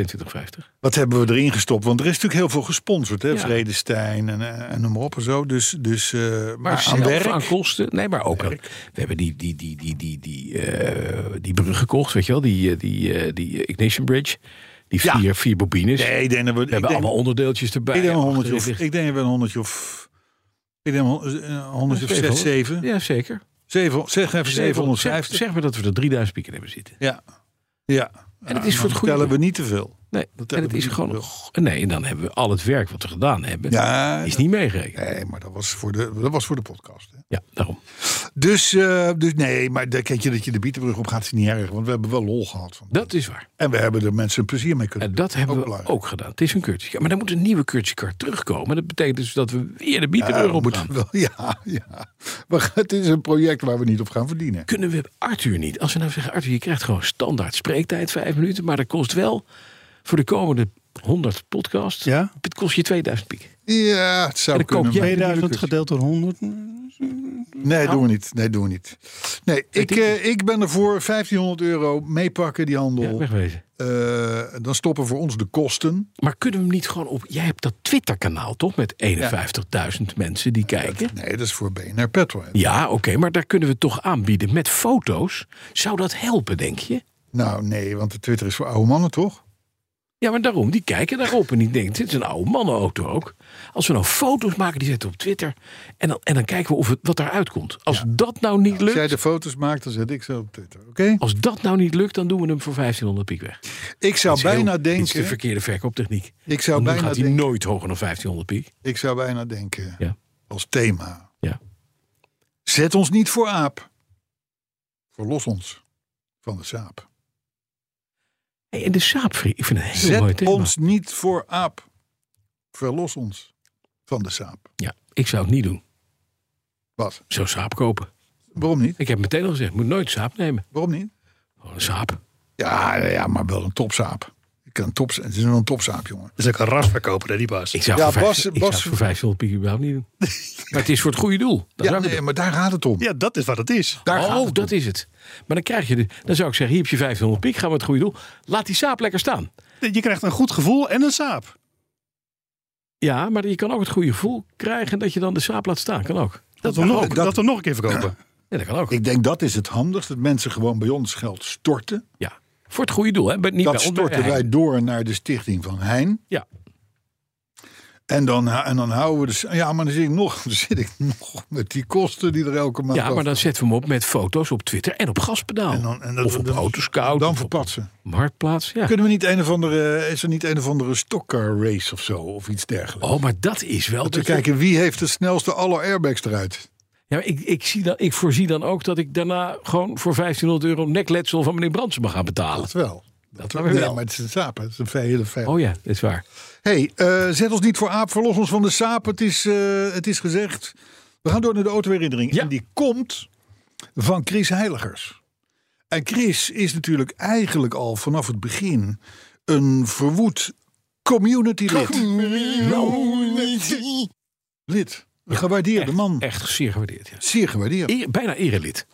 Speaker 3: 22,50.
Speaker 2: Wat hebben we erin gestopt? Want er is natuurlijk heel veel gesponsord, hè?
Speaker 3: Ja.
Speaker 2: Vredestein en, eh, en noem maar op en zo. Dus, dus eh, maar,
Speaker 3: Maar
Speaker 2: aan
Speaker 3: zelf,
Speaker 2: werk.
Speaker 3: aan kosten. Nee, maar ook aan- We hebben die, die, die, die, die, die, eh, die brug gekocht, weet je wel? Die, eh, die, eh, die eh, Ignition Bridge. Die
Speaker 2: Ja.
Speaker 3: vier, vier bobines.
Speaker 2: Nee, ik denk dat we,
Speaker 3: We hebben allemaal onderdeeltjes erbij.
Speaker 2: Ik denk wel een honderdje
Speaker 3: Achterin
Speaker 2: of,
Speaker 3: ligt-
Speaker 2: ik denk wel een honderdje of, ik denk wel een eh, honderdje of
Speaker 3: Ja,
Speaker 2: zes,
Speaker 3: zevenhonderd.
Speaker 2: zeven.
Speaker 3: Ja, zeker.
Speaker 2: Zeven, zeg even 750.
Speaker 3: Zeg, zeg maar dat we er 3000 pieken hebben zitten.
Speaker 2: Ja. Ja. Nou,
Speaker 3: En het is voor
Speaker 2: dan
Speaker 3: het goede
Speaker 2: vertellen
Speaker 3: doel.
Speaker 2: we niet te veel.
Speaker 3: Nee,
Speaker 2: Dat
Speaker 3: en
Speaker 2: hebben
Speaker 3: het
Speaker 2: we
Speaker 3: is
Speaker 2: niet
Speaker 3: gewoon...
Speaker 2: gewild.
Speaker 3: Nee, en dan hebben we al het werk wat we gedaan hebben...
Speaker 2: Ja.
Speaker 3: is niet meegerekend.
Speaker 2: Nee, maar dat was voor de, dat was voor de podcast. Hè.
Speaker 3: Ja, daarom.
Speaker 2: Dus, eh, dus nee, maar dat- kijk je dat je de Bietenbrug op gaat, is niet erg. Want we hebben wel lol gehad. Van.
Speaker 3: Dat is waar.
Speaker 2: En we hebben er mensen plezier mee kunnen
Speaker 3: En dat hebben we
Speaker 2: belangrijk.
Speaker 3: ook gedaan. Het is een curtje. Maar dan moet een nieuwe curtje car terugkomen. Dat betekent dus dat we weer de
Speaker 2: Ja,
Speaker 3: bietenburg
Speaker 2: we
Speaker 3: op
Speaker 2: moeten
Speaker 3: gaan.
Speaker 2: wel, ja, ja. Maar het is een project waar we niet op gaan verdienen.
Speaker 3: Kunnen we Arthur niet? Als we nou zeggen, Arthur, je krijgt gewoon standaard spreektijd, vijf minuten. Maar dat kost wel voor de komende 100 podcasts.
Speaker 4: Ja?
Speaker 3: Het kost je 2000 piek.
Speaker 2: Ja, het zou
Speaker 3: En dan koop
Speaker 2: kunnen.
Speaker 3: jij-
Speaker 2: maar-
Speaker 4: 2000 gedeeld door 100.
Speaker 2: Nee, doen we niet. Nee, doen we niet. Nee, ik,
Speaker 3: ik
Speaker 2: eh, ik ben ervoor 1500 euro meepakken, die
Speaker 3: Ja,
Speaker 2: handel.
Speaker 3: wegwezen.
Speaker 2: Eh, dan stoppen voor ons de kosten.
Speaker 3: Maar kunnen we hem niet gewoon op... Jij hebt dat Twitter-kanaal toch met 51.000 mensen die kijken?
Speaker 2: Nee, dat is voor BNR Petrolhead.
Speaker 3: Ja, oké, maar daar kunnen we toch aanbieden met foto's. Zou dat helpen, denk je?
Speaker 2: Nou, nee, want de Twitter is voor oude mannen, toch?
Speaker 3: Ja, maar daarom, die kijken daarop en die denken, dit is een oude mannenauto ook. Als we nou foto's maken, die zetten we op Twitter. En dan, en dan kijken we of het, wat daaruit komt. Als dat nou niet
Speaker 2: Als jij
Speaker 3: lukt,
Speaker 2: de foto's maakt, dan zet ik ze op Twitter, oké?
Speaker 3: als dat nou niet lukt, dan doen we hem voor 1500 piek weg.
Speaker 2: Ik zou bijna
Speaker 3: Dit is de
Speaker 2: denken...
Speaker 3: verkeerde verkooptechniek.
Speaker 2: Ik zou
Speaker 3: Dan
Speaker 2: bijna
Speaker 3: gaat hij
Speaker 2: denken...
Speaker 3: nooit hoger dan 1500 piek.
Speaker 2: Ik zou bijna denken,
Speaker 3: Ja.
Speaker 2: als thema.
Speaker 3: Ja.
Speaker 2: Zet ons niet voor aap. Verlos ons van de saap.
Speaker 3: Hey, en de saapvrie, ik vind het een heel mooi
Speaker 2: Zet
Speaker 3: thema.
Speaker 2: ons niet voor aap. Verlos ons van de saap.
Speaker 3: Ja, ik zou het niet doen.
Speaker 2: Wat?
Speaker 3: Zo saap kopen.
Speaker 2: Waarom niet?
Speaker 3: Ik heb meteen al gezegd, moet nooit saap nemen.
Speaker 2: Waarom niet?
Speaker 3: Gewoon een saap.
Speaker 2: Ja, ja, maar wel een topsaap. Ik kan een topsaap. Het is wel een topsaap, jongen.
Speaker 4: is ook een rasverkoper, hè, die Bas.
Speaker 3: Ik zou,
Speaker 2: Ja,
Speaker 3: voor, vijf-
Speaker 2: Bas-
Speaker 3: ik zou
Speaker 2: Bas-
Speaker 3: het voor 500 piek überhaupt niet doen. Maar het is voor het goede doel. Dat
Speaker 2: Ja,
Speaker 3: zou ik
Speaker 2: nee, maar daar gaat het om.
Speaker 4: Ja, dat is wat het is.
Speaker 2: Daar gaat
Speaker 3: Oh,
Speaker 2: het
Speaker 3: dat is het. Maar dan krijg je de, dan zou ik zeggen, hier heb je 500 piek, gaan we het goede doel. Laat die saap lekker staan.
Speaker 4: Je krijgt een goed gevoel en een saap.
Speaker 3: Ja, maar je kan ook het goede gevoel krijgen dat je dan de saap laat staan. Kan ook.
Speaker 4: Dat we, hem nog,
Speaker 2: dat-
Speaker 4: dat, we hem nog een keer verkopen.
Speaker 3: Ja, dat kan ook.
Speaker 2: Ik denk dat is het handigst. Dat mensen gewoon bij ons geld storten.
Speaker 3: Ja. Voor het goede doel, hè? Maar Niet
Speaker 2: Dat
Speaker 3: bij ons, bij
Speaker 2: storten
Speaker 3: Hein.
Speaker 2: wij door naar de stichting van Hein.
Speaker 3: Ja.
Speaker 2: En dan, en dan houden we de... s- Ja, maar dan zit ik nog, dan zit ik nog met die kosten die er elke maand
Speaker 3: ja, maar dan zetten we hem op met foto's op Twitter en op gaspedaal.
Speaker 2: En dan- en dat-
Speaker 3: of op
Speaker 2: dan-
Speaker 3: Autoscout.
Speaker 2: Dan
Speaker 3: of op
Speaker 2: verpatsen.
Speaker 3: Marktplaats. Ja.
Speaker 2: Kunnen we niet een of andere, is er niet een of andere stockcar race of zo? Of iets dergelijks?
Speaker 3: Oh, maar dat is wel...
Speaker 2: Om te
Speaker 3: dat je-
Speaker 2: kijken wie heeft de snelste alle airbags eruit.
Speaker 3: Ja, maar ik, ik, zie dan, ik voorzie dan ook dat ik daarna gewoon voor 1500 euro nekletsel van meneer Brandsen mag gaan betalen.
Speaker 2: Dat wel. Dat
Speaker 3: wel
Speaker 2: wel.
Speaker 3: weer
Speaker 2: Nee,
Speaker 3: wel.
Speaker 2: maar het is een saap. hè. Het is een fe- hele feit.
Speaker 3: Oh ja, dat is waar.
Speaker 2: hey, eh, zet ons niet voor aap. Verlos ons van de saap. Het is, eh, het is gezegd. We gaan door naar de autoherinnering.
Speaker 3: Ja.
Speaker 2: En die komt van Chris Heiligers. En Chris is natuurlijk eigenlijk al vanaf het begin een verwoed community lid. Lid. Een gewaardeerde Nou, man.
Speaker 3: Echt zeer gewaardeerd. Ja.
Speaker 2: Zeer gewaardeerd.
Speaker 3: Eer- bijna erelid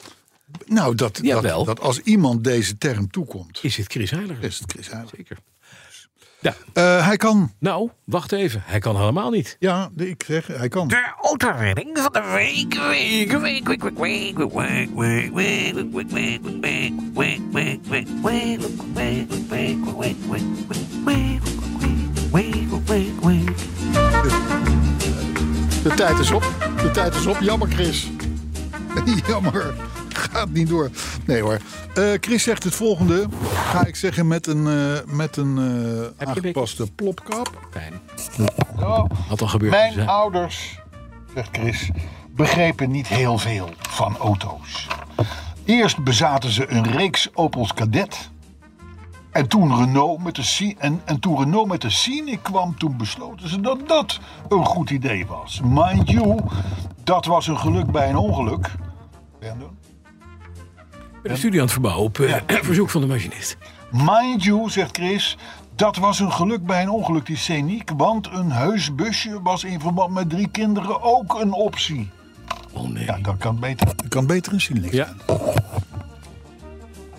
Speaker 2: Nou, dat,
Speaker 3: Jawel.
Speaker 2: dat, dat als iemand deze term toekomt,
Speaker 3: is het Chris Heiliger.
Speaker 2: is het Chris Heiligers.
Speaker 3: Zeker.
Speaker 2: Eh, hij kan.
Speaker 3: Nou, wacht even. Hij kan helemaal niet.
Speaker 2: Ja, ik zeg, hij kan.
Speaker 5: De autoredding van de week, week, week, week, week, week, week, week, week, week, week, week, week, week, week, week, week, week, week, week, week, week, week, week, week, week, week.
Speaker 2: De tijd is op. De tijd is op. Jammer, Chris. Jammer. Gaat niet door. Nee hoor. Eh, Chris zegt het volgende. Ga ik zeggen met een, eh, met een eh,
Speaker 3: een
Speaker 2: aangepaste plopkap.
Speaker 3: Fijn.
Speaker 2: Oh,
Speaker 3: Had al gebeurd. eh,
Speaker 2: mijn
Speaker 3: zijn.
Speaker 2: ouders, zegt Chris, begrepen niet heel veel van auto's. Eerst bezaten ze een reeks Opels Cadet. En toen Renault met de, Sci- en, en toen Renault met de Scenic kwam, toen besloten ze dat dat een goed idee was. Mind you, dat was een geluk bij een ongeluk. Brandon?
Speaker 3: Ik ben de studie aan het verbouwen op eh, verzoek van de machinist.
Speaker 2: Mind you, zegt Chris, dat was een geluk bij een ongeluk, die sceniek. Want een heus busje was in verband met drie kinderen ook een optie.
Speaker 3: Oh nee.
Speaker 2: Ja, dat kan beter, dat kan beter een sceniek.
Speaker 3: Ja.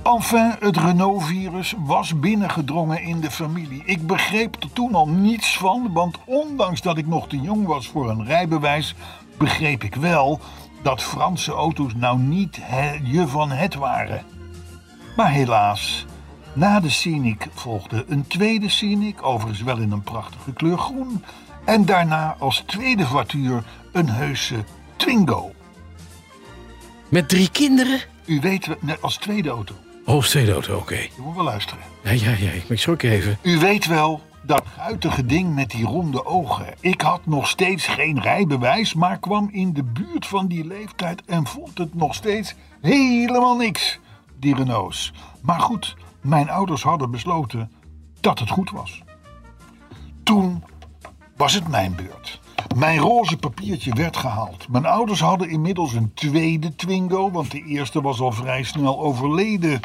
Speaker 2: Enfin, het Renault-virus was binnengedrongen in de familie. Ik begreep er toen al niets van, want ondanks dat ik nog te jong was voor een rijbewijs, begreep ik wel dat Franse auto's nou niet he- je van het waren. Maar helaas, na de Scenic volgde een tweede Scenic, overigens wel in een prachtige kleur groen, en daarna als tweede voituur een heuse Twingo.
Speaker 3: Met drie kinderen?
Speaker 2: U weet, we- net als tweede auto.
Speaker 3: Oh, steedauto, oké.
Speaker 2: Je moet wel luisteren.
Speaker 3: Ja, ja, ja. Ik schrok even.
Speaker 2: U weet wel, dat guitige ding met die ronde ogen. Ik had nog steeds geen rijbewijs, maar kwam in de buurt van die leeftijd en vond het nog steeds helemaal niks, die Renaults. Maar goed, mijn ouders hadden besloten dat het goed was. Toen was het mijn beurt. Mijn roze papiertje werd gehaald. Mijn ouders hadden inmiddels een tweede Twingo, want de eerste was al vrij snel overleden.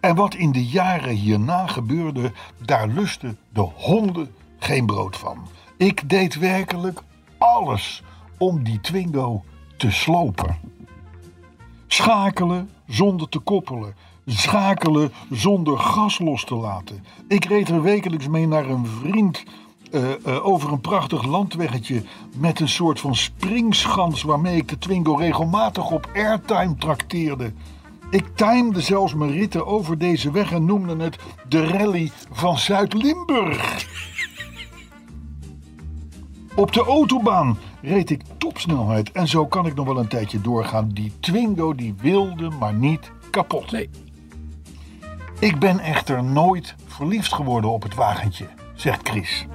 Speaker 2: En wat in de jaren hierna gebeurde, daar lusten de honden geen brood van. Ik deed werkelijk alles om die Twingo te slopen. Schakelen zonder te koppelen. Schakelen zonder gas los te laten. Ik reed er wekelijks mee naar een vriend eh, eh, over een prachtig landweggetje met een soort van springschans waarmee ik de Twingo regelmatig op airtime trakteerde. Ik timde zelfs mijn ritten over deze weg en noemde het de rally van Zuid-Limburg. Op de autobaan reed ik topsnelheid en zo kan ik nog wel een tijdje doorgaan. Die Twingo die wilde maar niet kapot.
Speaker 3: Nee.
Speaker 2: Ik ben echter nooit verliefd geworden op het wagentje, zegt Chris.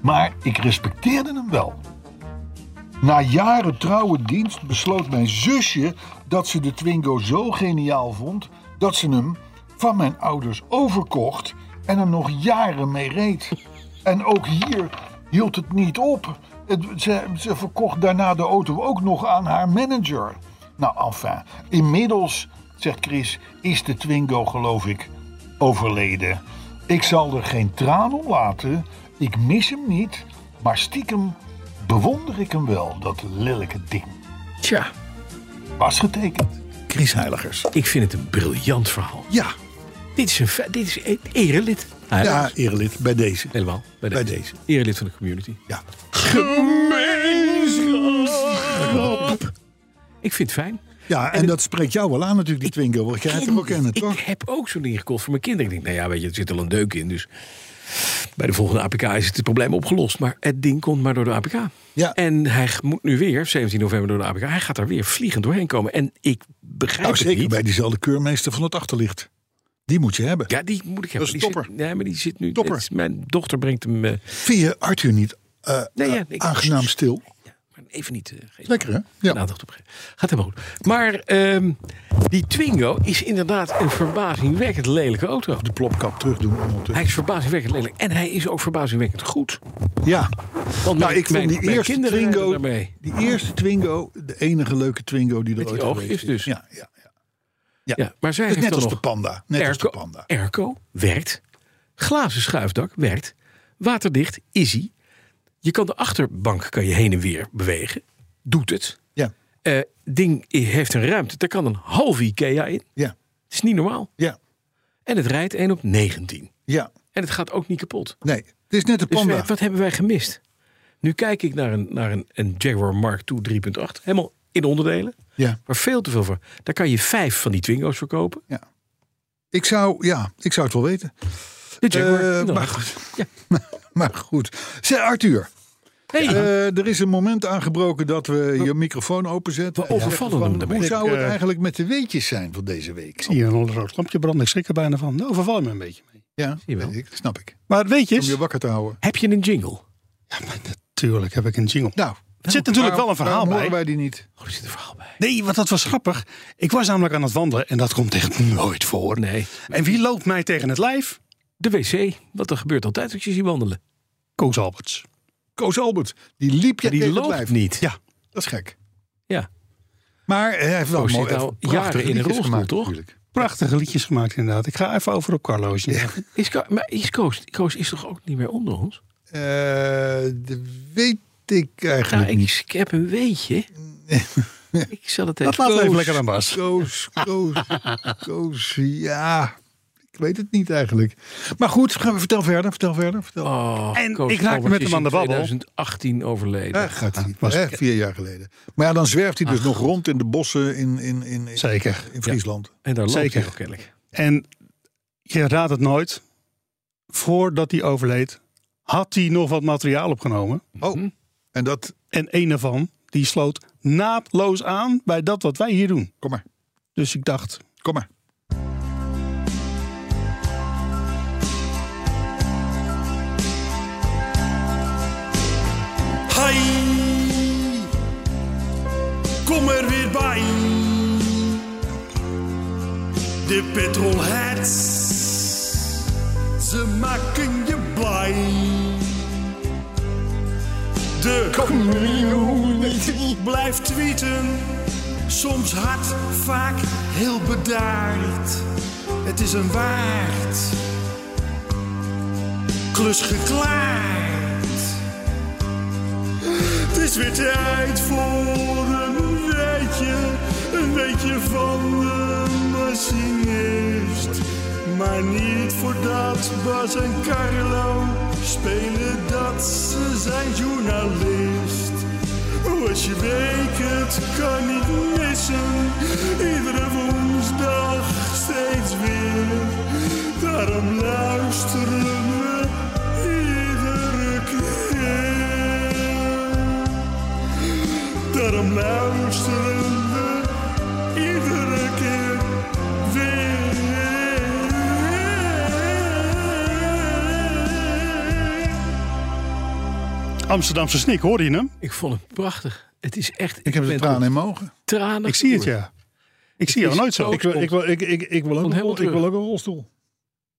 Speaker 2: Maar ik respecteerde hem wel. Na jaren trouwe dienst besloot mijn zusje dat ze de Twingo zo geniaal vond dat ze hem van mijn ouders overkocht en er nog jaren mee reed. En ook hier hield het niet op. Het- ze, ze verkocht daarna de auto ook nog aan haar manager. Nou, enfin, inmiddels zegt Chris, is de Twingo, geloof ik, overleden. Ik zal er geen traan om laten. Ik mis hem niet. Maar stiekem bewonder ik hem wel, dat lelijke ding.
Speaker 3: Tja,
Speaker 2: Was getekend.
Speaker 6: Chris Heiligers.
Speaker 3: ik vind het een briljant verhaal.
Speaker 4: Ja,
Speaker 3: Dit is een, fe- dit is een erelid. Hij-
Speaker 4: ja erelid bij deze.
Speaker 3: Helemaal. Bij deze.
Speaker 4: Bij deze.
Speaker 3: Erelid van de community.
Speaker 4: Ja.
Speaker 3: Ik vind het fijn.
Speaker 6: Ja, en, dat spreekt jou wel aan natuurlijk, die Twingo. Want jij hebt hem ook kennen,
Speaker 3: ik
Speaker 6: toch?
Speaker 3: heb ook zo'n ding gekocht voor mijn kinderen. Ik denk, nou ja, weet je, er zit al een deuk in. Dus bij de volgende APK is het probleem opgelost. Maar het ding komt maar door de APK.
Speaker 6: Ja.
Speaker 3: En hij g- moet nu weer, 17 november door de APK, hij gaat daar weer vliegend doorheen komen. En ik begrijp
Speaker 6: Nou,
Speaker 3: het
Speaker 6: zeker
Speaker 3: niet.
Speaker 6: bij diezelfde keurmeester van het achterlicht. Die moet je hebben.
Speaker 3: Ja, die moet ik hebben.
Speaker 6: Dat is
Speaker 3: Die zit-
Speaker 6: topper.
Speaker 3: nee, maar die zit nu...
Speaker 6: Topper.
Speaker 3: het is- mijn dochter brengt hem... eh,
Speaker 6: Vind je Arthur niet eh,
Speaker 3: nee,
Speaker 6: eh,
Speaker 3: ja, ik-
Speaker 6: aangenaam stil?
Speaker 3: Ja, maar even niet... eh, geven.
Speaker 6: Lekker, hè?
Speaker 3: Ja.
Speaker 6: Ja.
Speaker 3: Aandacht op. Gaat helemaal goed. Maar ehm, die Twingo is inderdaad een verbazingwekkend lelijke auto.
Speaker 6: Oh, De plopkap terugdoen. ondertussen.
Speaker 3: Hij is verbazingwekkend lelijk. En hij is ook verbazingwekkend goed.
Speaker 6: Ja,
Speaker 3: Want
Speaker 6: nou,
Speaker 3: mijn,
Speaker 6: ik vond
Speaker 3: mijn-
Speaker 6: die
Speaker 3: mijn
Speaker 6: eerste
Speaker 3: kinderen rijden
Speaker 6: Twingo,
Speaker 3: daarmee.
Speaker 6: die eerste Twingo, de enige leuke Twingo die er
Speaker 3: Met die
Speaker 6: ooit
Speaker 3: oogjes
Speaker 6: geweest
Speaker 3: dus.
Speaker 6: Ja, ja, ja.
Speaker 3: Ja, maar zij
Speaker 6: Dus
Speaker 3: heeft
Speaker 6: net
Speaker 3: dan
Speaker 6: als
Speaker 3: nog
Speaker 6: de panda. Net als de
Speaker 3: airco,
Speaker 6: panda.
Speaker 3: airco werkt. Glazen schuifdak werkt. Waterdicht, easy. Je kan de achterbank kan je heen en weer bewegen. Doet het.
Speaker 6: Ja,
Speaker 3: Eh, ding heeft een ruimte. Daar kan een half Ikea in.
Speaker 6: ja,
Speaker 3: Het is niet normaal.
Speaker 6: ja,
Speaker 3: En het rijdt 1 op 19.
Speaker 6: ja.
Speaker 3: En het gaat ook niet kapot.
Speaker 6: Nee, het is net de
Speaker 3: Dus
Speaker 6: panda.
Speaker 3: wij- wat hebben wij gemist? Nu kijk ik naar een, naar een, een Jaguar Mark II 3.8. Helemaal in onderdelen.
Speaker 6: ja,
Speaker 3: Maar veel te veel voor. Daar kan je vijf van die Twingo's verkopen.
Speaker 6: ja. Ik zou, ja, ik zou het wel weten.
Speaker 3: De Jaguar. Nou,
Speaker 6: Eh,
Speaker 3: inderdaad.
Speaker 6: maar goed.
Speaker 3: Ja.
Speaker 6: Maar goed. Zeg Arthur,
Speaker 3: Hey,
Speaker 6: eh, er is een moment aangebroken dat we je microfoon openzetten.
Speaker 3: Oh. We overvallen hem ermee.
Speaker 6: Hoe zou het
Speaker 4: eh,
Speaker 6: eigenlijk met de weetjes zijn van deze week?
Speaker 4: Zie je een rood lampje branden? Ik schrik er bijna van. Nou, verval je me een beetje mee.
Speaker 6: Ja,
Speaker 3: je wel.
Speaker 6: weet ik, snap ik.
Speaker 4: Maar weet je
Speaker 6: Om
Speaker 4: eens?
Speaker 6: je wakker te houden.
Speaker 3: heb je een jingle?
Speaker 4: Ja, maar natuurlijk heb ik een jingle.
Speaker 6: Nou,
Speaker 4: Er zit natuurlijk wel een verhaal
Speaker 6: waarom
Speaker 4: bij.
Speaker 6: horen wij die niet?
Speaker 3: Oh, er zit een verhaal bij.
Speaker 4: Nee, want dat was grappig. Ik was namelijk aan het wandelen en dat komt echt nooit voor.
Speaker 3: Nee.
Speaker 4: En wie loopt mij tegen het lijf?
Speaker 3: De wc. Wat er gebeurt altijd als je ziet wandelen.
Speaker 4: Koos Alberts.
Speaker 6: Koos Albert, die liep je
Speaker 3: die
Speaker 6: tegen
Speaker 3: loopt
Speaker 6: het lijf.
Speaker 3: niet.
Speaker 4: Ja,
Speaker 6: Dat is gek.
Speaker 3: Ja.
Speaker 6: Maar hij heeft wel
Speaker 3: Koos
Speaker 6: mooi,
Speaker 3: zit nou
Speaker 6: heeft prachtige
Speaker 3: jaren in een
Speaker 6: liedjes
Speaker 3: rolstoel,
Speaker 6: gemaakt,
Speaker 3: toch?
Speaker 6: natuurlijk.
Speaker 4: prachtige liedjes gemaakt inderdaad. Ik ga even over op Carlo's. Ja.
Speaker 3: Is Ko- maar is Koos, Koos is toch ook niet meer onder ons?
Speaker 6: Eh, dat weet ik eigenlijk
Speaker 3: Nou, ik,
Speaker 6: niet.
Speaker 3: ik heb een weetje. ik zal het
Speaker 4: Dat
Speaker 3: even...
Speaker 4: laat we even
Speaker 6: Koos.
Speaker 4: lekker aan Bas.
Speaker 6: Koos, Koos, Koos, ja. Ik weet het niet eigenlijk. Maar goed, gaan we, vertel verder, vertel verder. Vertel.
Speaker 3: Oh,
Speaker 4: En
Speaker 3: Koos
Speaker 4: ik raakte
Speaker 3: Albert
Speaker 4: met
Speaker 3: is
Speaker 4: hem aan de
Speaker 3: in
Speaker 4: babbel.
Speaker 3: 2018 overleden.
Speaker 6: Daar gaat hij,
Speaker 4: was-
Speaker 6: hè, vier jaar geleden. Maar ja, dan zwerft hij dus nog rond in de bossen in, in, in, in,
Speaker 4: Zeker.
Speaker 6: in Friesland.
Speaker 3: En daar loopt hij
Speaker 4: Zeker.
Speaker 3: ook kennelijk.
Speaker 4: En je raadt het nooit. Voordat hij overleed, had hij nog wat materiaal opgenomen.
Speaker 3: Mhm.
Speaker 6: Oh, en dat,
Speaker 4: En een daarvan, die sloot naadloos aan bij dat wat wij hier doen.
Speaker 6: kom maar,
Speaker 4: Dus ik dacht,
Speaker 6: kom maar.
Speaker 7: Hai, kom er weer bij. De petrolheads, ze maken je blij. De community blijft tweeten, soms hard, vaak heel bedaard. Het is een waard, klus geklaard. Het is weer tijd voor een weetje, een weetje van de machinist. Maar niet voordat Bas en Carlo spelen dat ze zijn journalist. Oh, Als je week het kan niet missen, iedere woensdag steeds weer. Daarom luisteren we iedere keer. Daarom luisteren we iedere keer weer.
Speaker 4: Amsterdamse snik, hoorde je hem?
Speaker 3: Ik vond het prachtig. Het is echt...
Speaker 6: Ik heb
Speaker 3: ben
Speaker 6: er tranen in mijn ogen.
Speaker 3: tranen.
Speaker 4: Ik zie het,
Speaker 3: door.
Speaker 4: ja. Ik zie jou
Speaker 3: is
Speaker 4: nooit zo.
Speaker 3: Koos Albert.
Speaker 6: wil, ik, ik, ik, wil,
Speaker 3: Komt helemaal
Speaker 6: rol-
Speaker 3: terug.
Speaker 6: een rolstoel.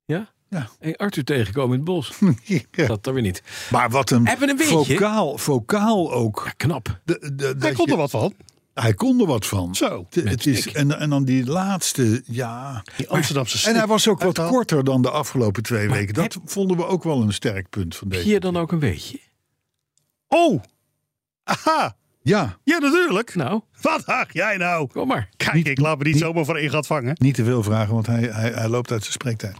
Speaker 3: Ja?
Speaker 6: Ja.
Speaker 3: Hey, Arthur tegenkomen in het bos.
Speaker 6: Ja.
Speaker 3: Dat dan weer niet.
Speaker 6: Maar wat een,
Speaker 3: Hebben we een beetje?
Speaker 6: vocaal, vocaal ook.
Speaker 3: Ja, knap.
Speaker 6: De, de,
Speaker 4: Hij
Speaker 6: dat
Speaker 4: kon
Speaker 6: je-
Speaker 4: er wat van.
Speaker 6: Hij kon er wat van.
Speaker 4: Zo,
Speaker 6: Het, het is, en, en dan die laatste, ja.
Speaker 4: Die Amsterdamse
Speaker 6: En hij
Speaker 4: stuk
Speaker 6: was ook
Speaker 4: uit
Speaker 6: wat
Speaker 4: de hand.
Speaker 6: korter dan de afgelopen twee weken. Dat vonden we ook wel een sterk punt van deze.
Speaker 3: Hier dan ook een beetje.
Speaker 4: Oh! Aha!
Speaker 6: Ja,
Speaker 4: Ja, natuurlijk.
Speaker 3: Nou,
Speaker 4: Wat dacht jij nou?
Speaker 3: kom maar.
Speaker 4: Kijk, ik laat me niet zomaar voor in gat vangen.
Speaker 6: niet te veel vragen, want hij, hij, hij loopt uit zijn spreektijd.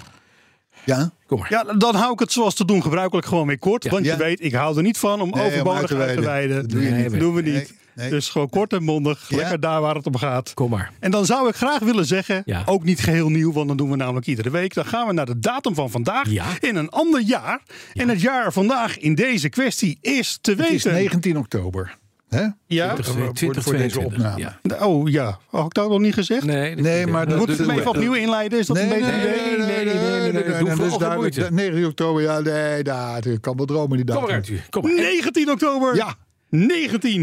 Speaker 6: Ja,
Speaker 3: Kom maar.
Speaker 4: Ja, dan hou ik het zoals te doen gebruikelijk gewoon weer kort. Want
Speaker 6: Ja.
Speaker 4: je weet, ik hou er niet van om
Speaker 6: Nee, om
Speaker 4: overbodig uit te wijden.
Speaker 6: Dat doe je
Speaker 3: Nee,
Speaker 6: niet.
Speaker 3: we-
Speaker 4: doen we niet.
Speaker 6: Nee, nee.
Speaker 4: Dus gewoon kort en mondig.
Speaker 6: Ja.
Speaker 4: Lekker daar waar het om gaat.
Speaker 3: Kom maar.
Speaker 4: En dan zou ik graag willen zeggen,
Speaker 3: Ja.
Speaker 4: ook niet geheel nieuw, want dan doen we namelijk iedere week. Dan gaan we naar de datum van vandaag
Speaker 3: Ja.
Speaker 4: in een ander jaar. En het jaar vandaag in deze kwestie is te
Speaker 6: Het is
Speaker 4: weten.
Speaker 6: 19 oktober. Hè?
Speaker 4: ja?
Speaker 3: 20,
Speaker 6: voor- voor
Speaker 3: 2022.
Speaker 6: deze opname.
Speaker 3: Ja.
Speaker 4: Oh ja, had ik dat nog niet gezegd?
Speaker 3: Nee, dat-
Speaker 6: Nee, maar dat-
Speaker 4: Moet ik
Speaker 6: dat-
Speaker 4: hem even opnieuw inleiden? Is dat een beter
Speaker 3: nee,
Speaker 4: idee?
Speaker 3: nee, nee, nee, doe
Speaker 6: Dat
Speaker 3: vooral
Speaker 6: is
Speaker 3: geen
Speaker 6: duidelijk.
Speaker 3: moeite.
Speaker 6: 19 dus oktober, ja, nee, daar ik kan wel dromen die
Speaker 3: Kom maar
Speaker 6: datum.
Speaker 3: uit u. Kom maar.
Speaker 4: 19 oktober
Speaker 6: Ja.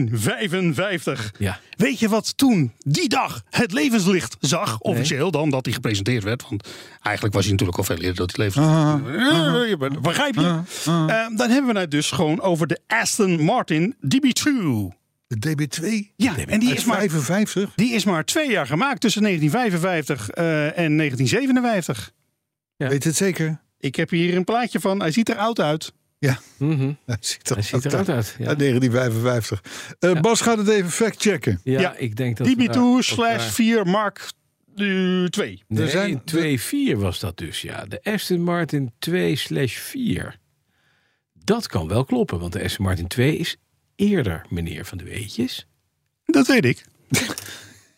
Speaker 4: 1955.
Speaker 3: Ja.
Speaker 4: Weet je wat toen die dag het levenslicht zag? Officieel dan dat hij gepresenteerd werd. Want eigenlijk was hij natuurlijk al veel eerder dat hij levenslicht. Eh, je bent- Begrijp je? Eh, dan hebben we het dus gewoon over de Aston Martin DB2.
Speaker 6: De DB2
Speaker 4: Ja, en die
Speaker 6: uit
Speaker 4: is, maar,
Speaker 6: 55.
Speaker 4: die is maar twee jaar gemaakt tussen 1955 eh, en 1957.
Speaker 6: Weet het zeker?
Speaker 4: Ik heb hier een plaatje van. Hij ziet er oud uit.
Speaker 3: Mhm.
Speaker 6: Hij ziet er
Speaker 3: Hij ziet
Speaker 6: uit.
Speaker 3: eruit uit. Ja.
Speaker 6: Uit 1955. Eh, Bas gaat het even factchecken.
Speaker 3: Ja,
Speaker 4: Ja.
Speaker 3: ik denk dat... we daar-
Speaker 4: DB2
Speaker 3: dat
Speaker 4: slash
Speaker 3: daar-
Speaker 4: 4 Mark eh, 2.
Speaker 3: Nee,
Speaker 6: Er zijn-
Speaker 3: 2-4 was dat dus, ja. De Aston Martin 2 slash 4. Dat kan wel kloppen, want de Aston Martin 2 is eerder, meneer Van de Weetjes.
Speaker 4: Dat weet ik.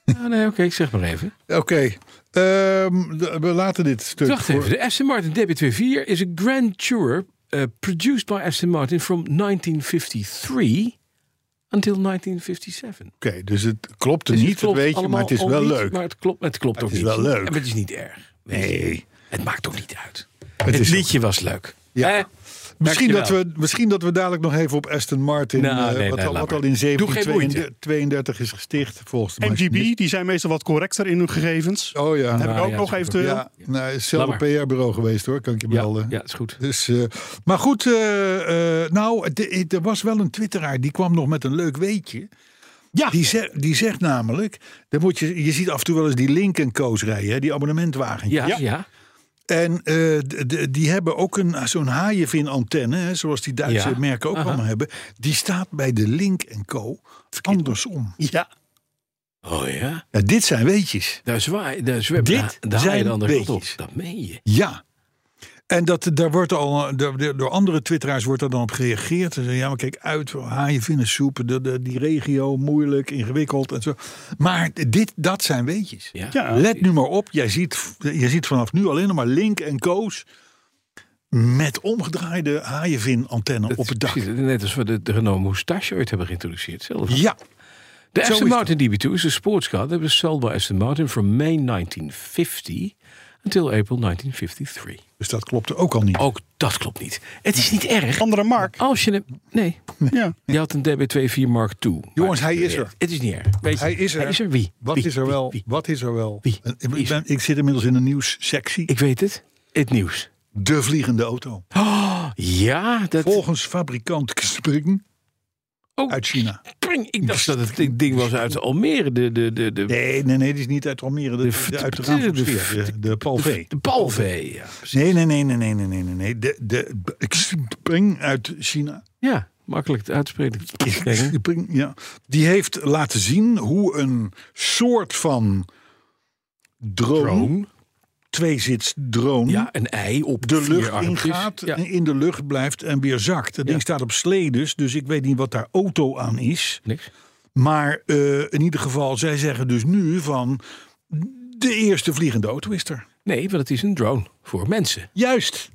Speaker 3: Ah, nee, oké, ik zeg maar even.
Speaker 6: Oké, ehm, de- we laten dit stuk.
Speaker 3: Wacht
Speaker 6: voor-
Speaker 3: even, de Aston Martin DB24 is a Grand Tourer uh, produced by Aston Martin from 1953 until 1957.
Speaker 6: Oké, dus het klopte
Speaker 3: Dus het
Speaker 6: niet, dat
Speaker 3: klopt
Speaker 6: weet je, maar
Speaker 3: allemaal
Speaker 6: het is
Speaker 3: al
Speaker 6: wel
Speaker 3: niet,
Speaker 6: leuk.
Speaker 3: Maar het klopt, het klopt
Speaker 6: Het
Speaker 3: ook
Speaker 6: is
Speaker 3: niet.
Speaker 6: wel leuk.
Speaker 3: En het is niet erg.
Speaker 6: Nee.
Speaker 3: Het maakt ook niet uit.
Speaker 6: Het
Speaker 3: Het,
Speaker 6: is
Speaker 3: liedje was leuk.
Speaker 6: Ja.
Speaker 3: Hè?
Speaker 6: Misschien dat,
Speaker 3: Dankjewel.
Speaker 6: we, misschien dat we dadelijk nog even op Aston Martin,
Speaker 3: Nou,
Speaker 6: eh,
Speaker 3: nee,
Speaker 6: wat,
Speaker 3: nee,
Speaker 6: al-
Speaker 3: laat
Speaker 6: wat
Speaker 3: maar.
Speaker 6: al in
Speaker 3: Doe geen moeite.
Speaker 6: 1732 is gesticht, volgens de
Speaker 4: MGB,
Speaker 6: machinist.
Speaker 4: die zijn meestal wat correcter in hun gegevens.
Speaker 6: Oh ja,
Speaker 4: Heb ik
Speaker 3: Nou,
Speaker 4: ook
Speaker 3: ja,
Speaker 4: nog
Speaker 3: dat is
Speaker 4: even eh, te...
Speaker 6: ja. Nou, is hetzelfde
Speaker 3: Laat maar.
Speaker 6: PR-bureau geweest hoor, kan ik je
Speaker 3: Ja,
Speaker 6: melden.
Speaker 3: ja, is goed.
Speaker 6: Dus, eh, maar goed, eh, eh, nou, het- het- er was wel een twitteraar, die kwam nog met een leuk weetje.
Speaker 4: Ja.
Speaker 6: Die, ze- die zegt namelijk, dan moet je, je ziet af en toe wel eens die Lincoln Co's rijden, hè, die abonnementwagen.
Speaker 3: Ja,
Speaker 4: Ja.
Speaker 3: ja.
Speaker 6: En eh, d- d- die hebben ook een, zo'n haaienvin-antenne, hè, zoals die Duitse
Speaker 3: Ja.
Speaker 6: merken ook
Speaker 3: Aha.
Speaker 6: allemaal hebben. Die staat bij de Link Co. andersom.
Speaker 4: Ja.
Speaker 3: Oh ja,
Speaker 6: Ja, dit zijn weetjes.
Speaker 3: daar zwaai, daar zwaai,
Speaker 6: Dit
Speaker 3: daar, daar haal je
Speaker 6: zijn
Speaker 3: dan de kant op.
Speaker 6: beetjes.
Speaker 3: Dat meen je.
Speaker 6: Ja. En dat, daar wordt al, eh, door- door door andere twitteraars wordt daar dan op gereageerd. Ze zeggen, ja, maar kijk uit, haaienvinnen soep, de, de- die regio, moeilijk, ingewikkeld en zo. Maar dit, dat zijn weetjes.
Speaker 3: Ja.
Speaker 4: Ja.
Speaker 6: Let nu maar op, jij ziet, je ziet vanaf nu alleen nog maar Link en Co's met omgedraaide haaienvin-antenne op het dak.
Speaker 3: Precies, Net als we de, de Renault Moustache ooit hebben geïntroduceerd. Zelf.
Speaker 6: Ja,
Speaker 3: De
Speaker 6: Zo
Speaker 3: Aston
Speaker 6: is
Speaker 3: Martin DB2 is a sports car that was sold by Aston Martin from May 1950 until April 1953.
Speaker 6: dus dat klopte ook al niet.
Speaker 3: Ook dat klopt niet. Het is niet erg.
Speaker 4: Andere Mark.
Speaker 3: Als je hem... Nee,
Speaker 4: Ja.
Speaker 3: je had een DB24 Mark II.
Speaker 6: Jongens,
Speaker 3: Maar-
Speaker 6: hij is er.
Speaker 3: Het is niet erg. Weet je,
Speaker 6: Hij is er.
Speaker 3: Hij is er. Wie?
Speaker 6: Wat
Speaker 3: Wie?
Speaker 6: is er
Speaker 3: Wie?
Speaker 6: wel?
Speaker 3: Wie?
Speaker 6: Wat is er wel?
Speaker 3: Wie?
Speaker 6: En Ik,
Speaker 3: Wie?
Speaker 6: ben, ik zit inmiddels in een nieuwssectie.
Speaker 3: Ik weet het. Het nieuws.
Speaker 6: De vliegende auto.
Speaker 3: Ja, dat...
Speaker 6: Volgens fabrikant Spring
Speaker 3: Oh,
Speaker 6: uit China.
Speaker 3: spring. Ik dacht dat het ding was uit Almere. De, de, de, de,
Speaker 6: Nee, nee, nee, die is niet uit Almere. De,
Speaker 3: De-
Speaker 6: de, uit de
Speaker 3: de-
Speaker 6: Raamsfeer, de, de Palvé.
Speaker 3: de Palvee. Ja.
Speaker 6: Nee, nee, nee, nee, nee, nee, nee, nee, nee. De, de Spring uit China.
Speaker 3: ja, makkelijk te uitspreken.
Speaker 6: Spring, ja. Die heeft laten zien hoe een soort van drone,
Speaker 3: Drone.
Speaker 6: tweezits drone,
Speaker 3: Ja, een ei op
Speaker 6: Hm? de
Speaker 3: vier
Speaker 6: lucht
Speaker 3: armpjes.
Speaker 6: ingaat,
Speaker 3: Ja.
Speaker 6: en in de lucht blijft en weer zakt. Dat ding staat op sledes, dus ik weet niet wat daar auto aan is.
Speaker 3: Niks.
Speaker 6: Maar eh, in ieder geval, zij zeggen dus nu van... de eerste vliegende auto is er.
Speaker 3: Nee, want het is een drone voor mensen.
Speaker 6: Juist.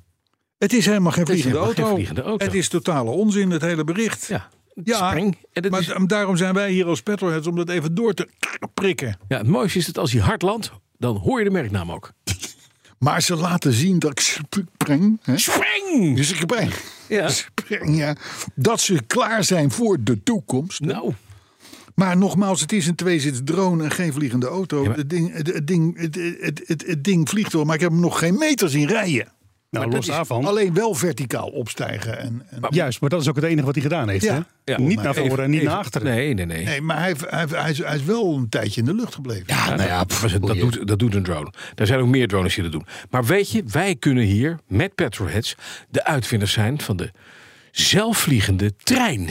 Speaker 6: Het is helemaal geen
Speaker 3: Het is
Speaker 6: vliegende,
Speaker 3: helemaal geen
Speaker 6: auto.
Speaker 3: vliegende auto.
Speaker 6: Het is totale onzin, het hele bericht.
Speaker 3: Ja, het
Speaker 6: Ja,
Speaker 3: spring. En dat
Speaker 6: maar
Speaker 3: is-
Speaker 6: da- daarom zijn wij hier als petrolheads om dat even door te prikken.
Speaker 3: ja, het mooiste is dat als je hard landt, dan hoor je de merknaam ook.
Speaker 6: Maar ze laten zien dat ik spring. Hè?
Speaker 3: Spring!
Speaker 6: Dus ik breng.
Speaker 3: Ja.
Speaker 6: Spring, ja. Dat ze klaar zijn voor de toekomst.
Speaker 3: Nou,
Speaker 6: Maar nogmaals, het is een tweezits drone en geen vliegende auto.
Speaker 3: maar-
Speaker 6: het, ding, het, het ding, het, het, het, het ding vliegt wel, maar ik heb hem nog geen meter zien rijden.
Speaker 4: Nou, los
Speaker 6: Maar dat is
Speaker 4: daarvan.
Speaker 6: Alleen wel verticaal opstijgen. En, en,
Speaker 4: Juist, maar dat is ook het enige wat hij gedaan heeft.
Speaker 6: Ja.
Speaker 4: Hè?
Speaker 3: Ja.
Speaker 4: niet naar
Speaker 3: Even-
Speaker 4: voren en niet
Speaker 3: even-
Speaker 4: naar achteren.
Speaker 3: Nee, nee, nee.
Speaker 6: nee, maar hij, heeft- hij, heeft- hij, is, hij is wel een tijdje in de lucht gebleven.
Speaker 4: Ja, nou ja, pff,
Speaker 3: Dat, dat, doet, dat doet een drone. Er zijn ook meer drones die dat doen. Maar weet je, wij kunnen hier met Petrolheads de uitvinders zijn van de zelfvliegende trein.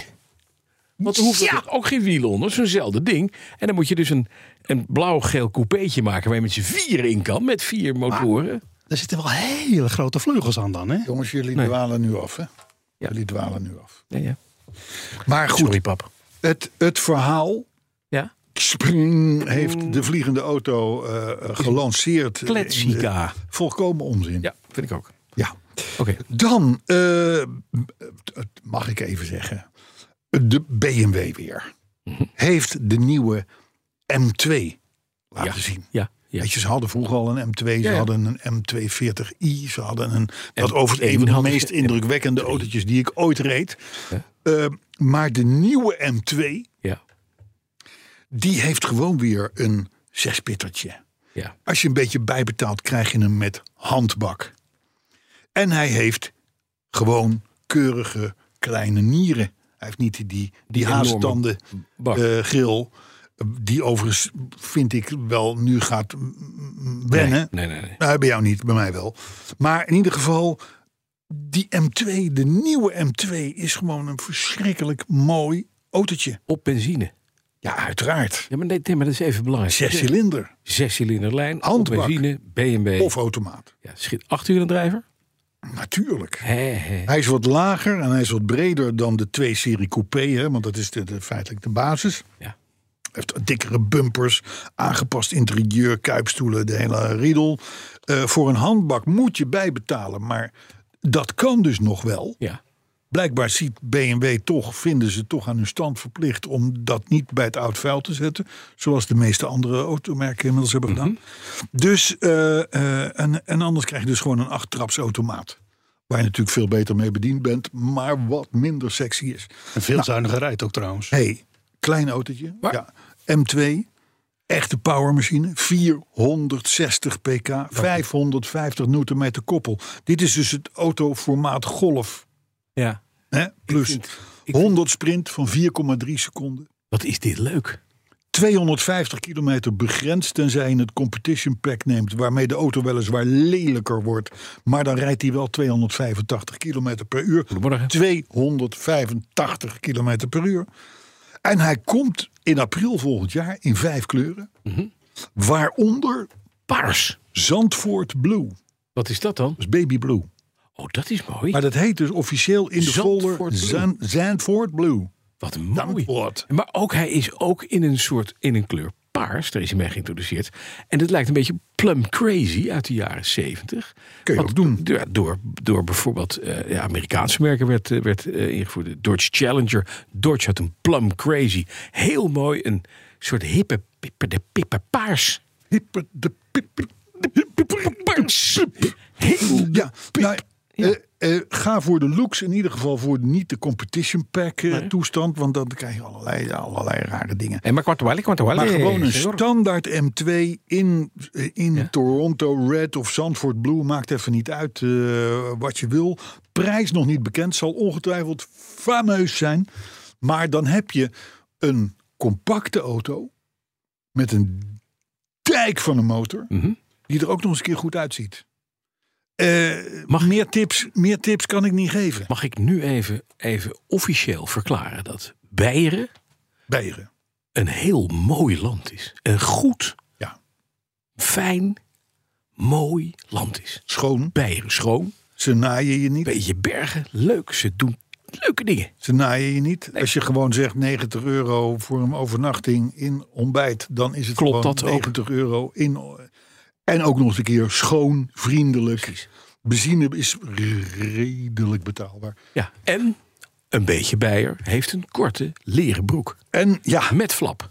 Speaker 3: Want er hoeft natuurlijk ook geen wielen onder, zo'nzelfde ding. En dan moet je dus een, een blauw-geel coupeetje maken waar je met z'n vier in kan, met vier motoren.
Speaker 4: Er zitten wel hele grote vleugels aan dan, hè?
Speaker 6: Jongens, jullie dwalen nu af, hè? Jullie dwalen nu af.
Speaker 3: Ja, ja.
Speaker 6: Maar goed,
Speaker 3: Sorry, pap.
Speaker 6: het, het verhaal
Speaker 3: Ja?
Speaker 6: Spring heeft
Speaker 3: Mm.
Speaker 6: de vliegende auto eh, eh, gelanceerd.
Speaker 3: Kletsica.
Speaker 6: In de- Volkomen onzin.
Speaker 3: Ja, vind ik ook.
Speaker 6: Ja.
Speaker 3: Oké.
Speaker 6: Dan, eh, het mag ik even zeggen, de BMW weer
Speaker 3: Mhm.
Speaker 6: heeft de nieuwe M2 laten zien.
Speaker 3: Ja, ja.
Speaker 6: Weet je, ze hadden vroeger al een M2, ze
Speaker 3: ja.
Speaker 6: hadden een M240i, ze hadden een... Dat
Speaker 3: M1
Speaker 6: overigens een van de
Speaker 3: hadden ze,
Speaker 6: meest indrukwekkende autootjes die ik ooit reed. Eh, maar de nieuwe M2,
Speaker 3: Ja,
Speaker 6: die heeft gewoon weer een zespittertje.
Speaker 3: ja.
Speaker 6: Als je een beetje bijbetaalt, krijg je hem met handbak. En hij heeft gewoon keurige kleine nieren. Hij heeft niet die, die, die
Speaker 3: enorme
Speaker 6: haastanden
Speaker 3: bak.
Speaker 6: eh, gril. Die overigens, vind ik, wel nu gaat mm, mm, wennen.
Speaker 3: Nee, nee, nee.
Speaker 6: Nou, bij jou niet, bij mij wel. Maar in ieder geval, die M2, de nieuwe M2, is gewoon een verschrikkelijk mooi autootje.
Speaker 3: Op benzine.
Speaker 6: Ja, uiteraard.
Speaker 3: Ja, maar, nee, nee, maar dat is even belangrijk.
Speaker 6: Zes cilinder
Speaker 3: Zescilinder lijn, op
Speaker 6: Handbak.
Speaker 3: benzine, BMW.
Speaker 6: of automaat.
Speaker 3: Ja, schiet. Achtwielen drijver?
Speaker 6: Natuurlijk.
Speaker 3: Hé, hé.
Speaker 6: Hij is wat lager en hij is wat breder dan de 2-serie coupé, hè, want dat is de, de- feitelijk de basis.
Speaker 3: Ja.
Speaker 6: Hij heeft dikkere bumpers, aangepast interieur, kuipstoelen, de hele riedel. Eh, voor een handbak moet je bijbetalen, maar dat kan dus nog wel.
Speaker 3: Ja.
Speaker 6: Blijkbaar ziet BMW toch, vinden ze toch aan hun stand verplicht om dat niet bij het oud vuil te zetten. Zoals de meeste andere automerken inmiddels hebben gedaan.
Speaker 3: Mhm.
Speaker 6: Dus, eh, eh, en, en anders krijg je dus gewoon een achttrapsautomaat. Waar je natuurlijk veel beter mee bediend bent, maar wat minder sexy is.
Speaker 4: En veel zuiniger rijdt ook trouwens.
Speaker 6: hey, klein autootje.
Speaker 3: Maar-
Speaker 6: Ja, M2. Echte powermachine. 460 pk. 550 Nm koppel. Dit is dus het autoformaat Golf.
Speaker 3: ja.
Speaker 6: Hè? Plus
Speaker 3: vind- ik
Speaker 6: 100 sprint van 4,3 seconden.
Speaker 3: Wat is dit leuk?
Speaker 6: 250 kilometer begrensd, tenzij je het competition pack neemt, waarmee de auto weliswaar lelijker wordt. Maar dan rijdt hij wel 285 kilometer per uur.
Speaker 3: Goedemorgen.
Speaker 6: 285 kilometer per uur. En hij komt in april volgend jaar in vijf kleuren.
Speaker 3: Mhm.
Speaker 6: Waaronder
Speaker 3: Paars.
Speaker 6: Zandvoort Blue.
Speaker 3: Wat is dat dan?
Speaker 6: Dat is baby blue.
Speaker 3: Oh, dat is mooi.
Speaker 6: Maar dat heet dus officieel in de
Speaker 3: Zandvoort
Speaker 6: folder
Speaker 3: Blue.
Speaker 6: Zan- Zandvoort Blue.
Speaker 3: Wat mooi.
Speaker 6: Zandvoort.
Speaker 3: Maar ook hij is ook in een soort, in een kleur paars. Daar is hij mee geïntroduceerd. En dat lijkt een beetje plum crazy uit de jaren zeventig.
Speaker 6: Kun je
Speaker 3: Wat
Speaker 6: ook doen.
Speaker 3: Door, door, door bijvoorbeeld eh, ja, Amerikaanse merken werd, eh, werd eh, ingevoerd. De Dodge Challenger. Dodge had een plum crazy. Heel mooi. Een soort hippe, pippe, de pippe paars.
Speaker 6: Hippe de pippe. de pippe.
Speaker 3: Paars. Heel
Speaker 6: Ja, nou, eh, eh, ga voor de looks. In ieder geval voor niet de competition pack eh, toestand. Want dan krijg je allerlei, allerlei rare dingen.
Speaker 3: En maar kwart wel, kwart wel.
Speaker 6: Maar gewoon een standaard M2 in, eh, in Toronto Red of Zandvoort Blue. Maakt even niet uit eh, wat je wil. Prijs nog niet bekend. Zal ongetwijfeld fameus zijn. Maar dan heb je een compacte auto. Met een dijk van een motor. Die er ook nog eens een keer goed uitziet. Eh,
Speaker 3: Mag-
Speaker 6: meer, tips, meer tips kan ik niet geven.
Speaker 3: Mag ik nu even, even officieel verklaren dat Beieren
Speaker 6: Beieren.
Speaker 3: een heel mooi land is? Een goed,
Speaker 6: Ja.
Speaker 3: fijn, mooi land is.
Speaker 6: Schoon.
Speaker 3: Beieren schoon,
Speaker 6: Ze naaien je niet.
Speaker 3: beetje bergen, leuk. Ze doen leuke dingen.
Speaker 6: Ze naaien je niet. Als je gewoon zegt 90 euro voor een overnachting in ontbijt, dan is het
Speaker 3: Klopt
Speaker 6: gewoon
Speaker 3: dat ook?
Speaker 6: 90 euro in. En ook nog eens een keer schoon, vriendelijk. Benzine is redelijk betaalbaar.
Speaker 3: Ja, en een beetje Beier heeft een korte leren broek
Speaker 6: En ja,
Speaker 3: met flap.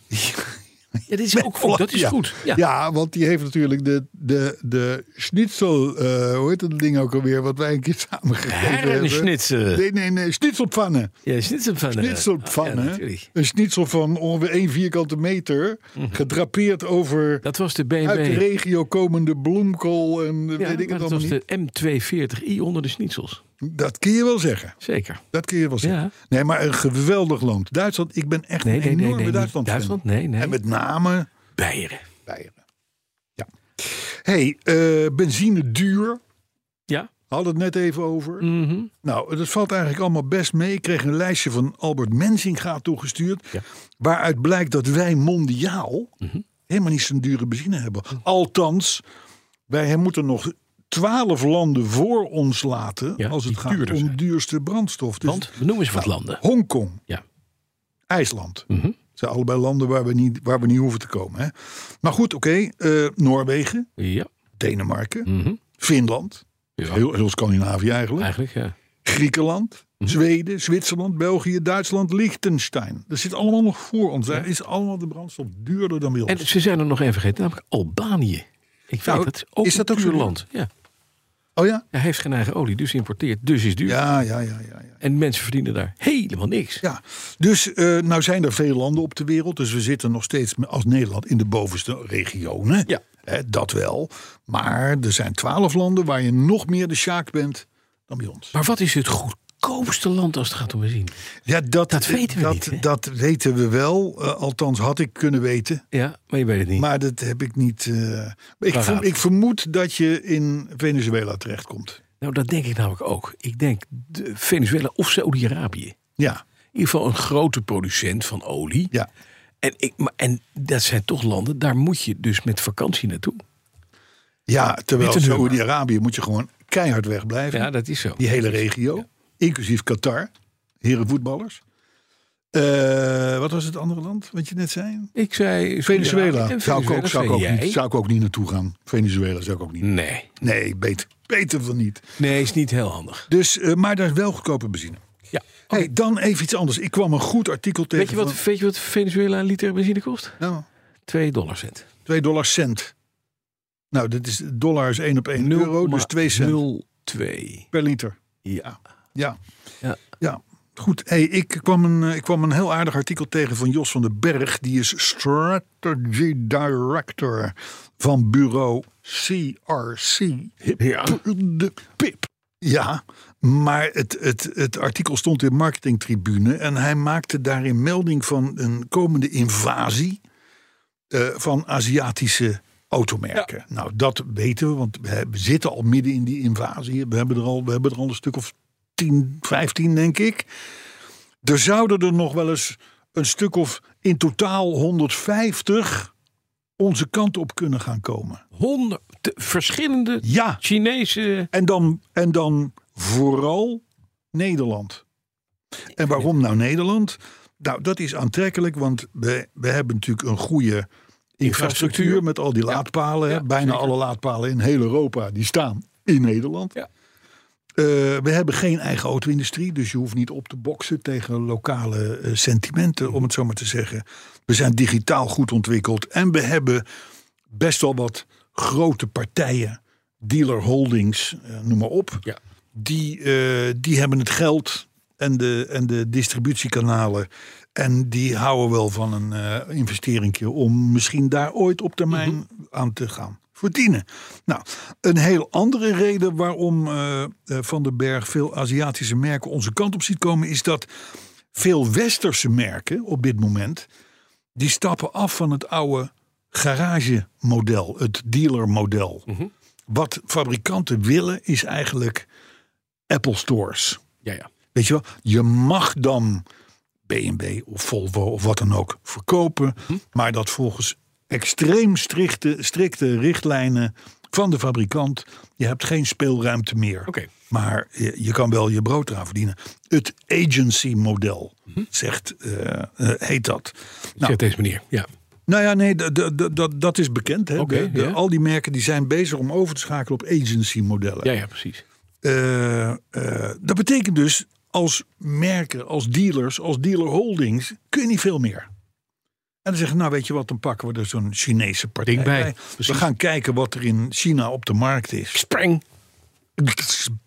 Speaker 3: Ja, dit is ook, ook- dat is
Speaker 6: Ja.
Speaker 3: goed. Ja.
Speaker 6: Ja. want die heeft natuurlijk de, de, de schnitzel, eh, hoe heet dat ding ook alweer, wat wij een keer samen gegeten hebben.
Speaker 3: Herrenschnitzel.
Speaker 6: Nee, nee, nee, schnitzelpfannen.
Speaker 3: Ja, schnitzel van... eh,
Speaker 6: Schnitzelpfannen.
Speaker 3: ja, natuurlijk. Mhm.
Speaker 6: een schnitzel van ongeveer 1 vierkante meter, gedrapeerd over
Speaker 3: Dat was de
Speaker 6: uit de
Speaker 3: BMW.
Speaker 6: regio komende bloemkool en
Speaker 3: Ja,
Speaker 6: eh, weet ik
Speaker 3: maar
Speaker 6: het
Speaker 3: dat
Speaker 6: allemaal
Speaker 3: was
Speaker 6: niet.
Speaker 3: de M240i onder de schnitzels.
Speaker 6: Dat kun je wel zeggen.
Speaker 3: Zeker.
Speaker 6: Dat kun je wel zeggen.
Speaker 3: Ja.
Speaker 6: Nee, maar een geweldig land. Duitsland, ik ben echt
Speaker 3: Nee,
Speaker 6: een
Speaker 3: nee, nee.
Speaker 6: enorme
Speaker 3: nee, niet
Speaker 6: Duitsland fan.
Speaker 3: Duitsland? Nee, nee.
Speaker 6: En met name
Speaker 3: Beieren.
Speaker 6: Beieren. Ja. hey, eh, benzine duur.
Speaker 3: Ja.
Speaker 6: Hadden het net even over.
Speaker 3: Mhm.
Speaker 6: Nou, dat valt eigenlijk allemaal best mee. Ik kreeg een lijstje van Albert Mensinga toegestuurd.
Speaker 3: Ja.
Speaker 6: Waaruit blijkt dat wij mondiaal
Speaker 3: Mhm.
Speaker 6: helemaal niet zo'n dure benzine hebben. Althans, wij moeten nog twaalf landen voor ons laten...
Speaker 3: Ja,
Speaker 6: als het
Speaker 3: die
Speaker 6: gaat
Speaker 3: duurder
Speaker 6: om
Speaker 3: zijn.
Speaker 6: duurste brandstof. Dus
Speaker 3: Want, noem eens wat landen.
Speaker 6: Hongkong,
Speaker 3: Ja.
Speaker 6: IJsland.
Speaker 3: Mhm.
Speaker 6: Het zijn allebei landen waar we niet, waar we niet hoeven te komen. Hè? Maar goed, oké. eh, Noorwegen,
Speaker 3: Ja.
Speaker 6: Denemarken,
Speaker 3: Mhm.
Speaker 6: Finland.
Speaker 3: Ja.
Speaker 6: Heel, heel Scandinavië eigenlijk.
Speaker 3: Eigenlijk, ja.
Speaker 6: Griekenland,
Speaker 3: Mhm.
Speaker 6: Zweden, Zwitserland, België, Duitsland, Liechtenstein. Dat zit allemaal nog voor ons. Daar is allemaal de brandstof duurder dan bij ons.
Speaker 3: En ze zijn er nog één vergeten, namelijk Albanië. Ik
Speaker 6: Nou,
Speaker 3: weet dat. Ook
Speaker 6: is dat
Speaker 3: een
Speaker 6: ook
Speaker 3: duur
Speaker 6: zo duur?
Speaker 3: land? Ja.
Speaker 6: oh ja?
Speaker 3: Hij heeft geen eigen olie, dus importeert, dus is duur.
Speaker 6: Ja, ja, ja, ja. ja.
Speaker 3: En mensen verdienen daar helemaal niks.
Speaker 6: Ja, dus eh, nou zijn er veel landen op de wereld. Dus we zitten nog steeds met- als Nederland in de bovenste regionen.
Speaker 3: Ja.
Speaker 6: Hè, dat wel. Maar er zijn twaalf landen waar je nog meer de sjaak bent dan bij ons.
Speaker 3: Maar wat is het goedkoopste land als het gaat om benzine?
Speaker 6: Ja, dat,
Speaker 3: Dat weten we
Speaker 6: dat,
Speaker 3: niet, hè?
Speaker 6: Dat weten we wel. Eh, althans, had ik kunnen weten.
Speaker 3: Ja, maar je weet het niet.
Speaker 6: Maar dat heb ik niet. eh, ik,
Speaker 3: Waar
Speaker 6: ver-
Speaker 3: gaat
Speaker 6: ik vermoed dat je in Venezuela terechtkomt.
Speaker 3: Nou, dat denk ik namelijk ook. Ik denk de Venezuela of Saudi-Arabië.
Speaker 6: Ja,
Speaker 3: In ieder geval een grote producent van olie.
Speaker 6: ja.
Speaker 3: En, ik, maar, en dat zijn toch landen, daar moet je dus met vakantie naartoe.
Speaker 6: ja terwijl
Speaker 3: Witte nummer.
Speaker 6: Saoedi-Arabië moet je gewoon keihard wegblijven.
Speaker 3: Ja, dat is zo.
Speaker 6: Die hele regio. Inclusief Qatar. Heren voetballers. Eh, wat was het andere land wat je net zei?
Speaker 3: Ik zei...
Speaker 6: Venezuela.
Speaker 3: En
Speaker 6: Zou ik, ook, zou, ik ook
Speaker 3: zei jij. Mm.
Speaker 6: niet, zou ik ook niet naartoe gaan. Venezuela zou ik ook niet.
Speaker 3: Nee.
Speaker 6: Nee, beter, beter dan niet.
Speaker 3: Nee, is niet heel handig.
Speaker 6: Dus, eh, maar daar is wel goedkope benzine.
Speaker 3: Ja.
Speaker 6: Hey, dan even iets anders. Ik kwam een goed artikel tegen.
Speaker 3: Weet je, wat,
Speaker 6: van-
Speaker 3: weet je wat Venezuela een liter benzine kost?
Speaker 6: nou,
Speaker 3: 2 dollarcent.
Speaker 6: 2 dollar cent. Nou, dit is, dollar is 1 op 1 euro, dus 2 cent
Speaker 3: 02.
Speaker 6: per liter.
Speaker 3: Ja.
Speaker 6: Ja.
Speaker 3: Ja.
Speaker 6: ja. Goed, hey, ik, kwam een, eh, ik kwam een heel aardig artikel tegen van Jos van den Berg. Die is Strategy Director van bureau CRC.
Speaker 3: Ja.
Speaker 6: De pip. Ja, maar het, het, het artikel stond in Marketing Tribune. En hij maakte daarin melding van een komende invasie eh, van Aziatische automerken. Nou, dat weten we, want we zitten al midden in die invasie. We hebben er al, we hebben er al een stuk of 10, 15, denk ik. Er zouden er nog wel eens een stuk of in totaal 150 onze kant op kunnen gaan komen.
Speaker 3: Honderd te- verschillende
Speaker 6: Ja,
Speaker 3: Chinese...
Speaker 6: en dan, en dan vooral Nederland. En waarom nou Nederland? Nou, dat is aantrekkelijk, want we, we hebben natuurlijk een goede infrastructuur met al die laadpalen. hè.
Speaker 3: ja,
Speaker 6: Bijna
Speaker 3: zeker.
Speaker 6: alle laadpalen in heel Europa die staan in Nederland.
Speaker 3: Ja.
Speaker 6: Eh, we hebben geen eigen auto-industrie, dus je hoeft niet op te boksen tegen lokale eh, sentimenten, om het zo maar te zeggen. We zijn digitaal goed ontwikkeld en we hebben best wel wat grote partijen, dealer holdings, eh, noem maar op.
Speaker 3: Ja.
Speaker 6: Die, eh, die hebben het geld en de, en de distributiekanalen. En die houden wel van een eh investeringje om misschien daar ooit op termijn aan te gaan verdienen. Nou, een heel andere reden waarom eh, eh, Van den Berg veel Aziatische merken onze kant op ziet komen, is dat veel westerse merken op dit moment die stappen af van het oude garagemodel, het dealermodel. Wat fabrikanten willen is eigenlijk Apple Stores.
Speaker 3: Ja, ja.
Speaker 6: Weet je wel, je mag dan BMW of Volvo of wat dan ook verkopen, maar dat volgens extreem strikte, strikte richtlijnen van de fabrikant. Je hebt geen speelruimte meer.
Speaker 3: Oké.
Speaker 6: Maar je, je kan wel je brood eraan verdienen. Het agency model, zegt, eh, eh, heet dat. Nou,
Speaker 3: Zegt deze meneer. Ja.
Speaker 6: nou ja, nee, d- d- d- dat- dat is bekend. Hè?
Speaker 3: Oké,
Speaker 6: De- de-
Speaker 3: ja.
Speaker 6: Al die merken die zijn bezig om over te schakelen op agency modellen.
Speaker 3: ja, ja, precies.
Speaker 6: Eh, eh, dat betekent dus als merken, als dealers, als dealer holdings kun je niet veel meer. En dan zeggen nou weet je wat, dan pakken we er zo'n Chinese partij
Speaker 3: Ding bij,
Speaker 6: We
Speaker 3: precies.
Speaker 6: gaan kijken wat er in China op de markt is.
Speaker 3: Spreng.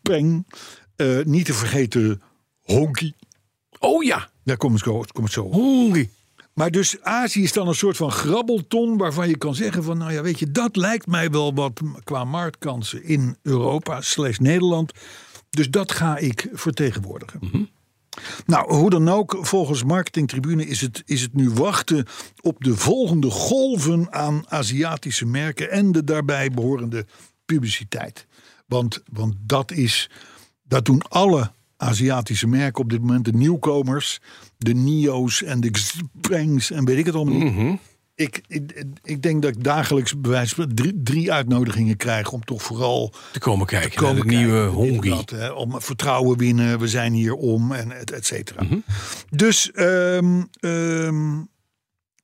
Speaker 6: Bang. Eh, niet te vergeten honky.
Speaker 3: Oh ja.
Speaker 6: Daar kom ik zo, kom ik zo op.
Speaker 3: Hongi.
Speaker 6: Maar dus Azië is dan een soort van grabbelton waarvan je kan zeggen van nou ja weet je dat lijkt mij wel wat m- qua marktkansen in Europa slechts Nederland. Dus dat ga ik vertegenwoordigen. Nou, hoe dan ook, volgens Marketingtribune is het, is het nu wachten op de volgende golven aan Aziatische merken en de daarbij behorende publiciteit. Want, want dat is, dat doen alle Aziatische merken op dit moment, de nieuwkomers, de Nio's en de Xprengs en weet ik het allemaal niet. Ik, ik, ik denk dat ik dagelijks bij wijze van drie, drie uitnodigingen krijg om toch vooral
Speaker 3: Te komen kijken.
Speaker 6: te komen
Speaker 3: naar de nieuwe
Speaker 6: kijken, dit en
Speaker 3: hongi.
Speaker 6: dat, hè, Om vertrouwen winnen, we zijn hier om, en et, et cetera.
Speaker 3: Mhm.
Speaker 6: Dus ehm, ehm,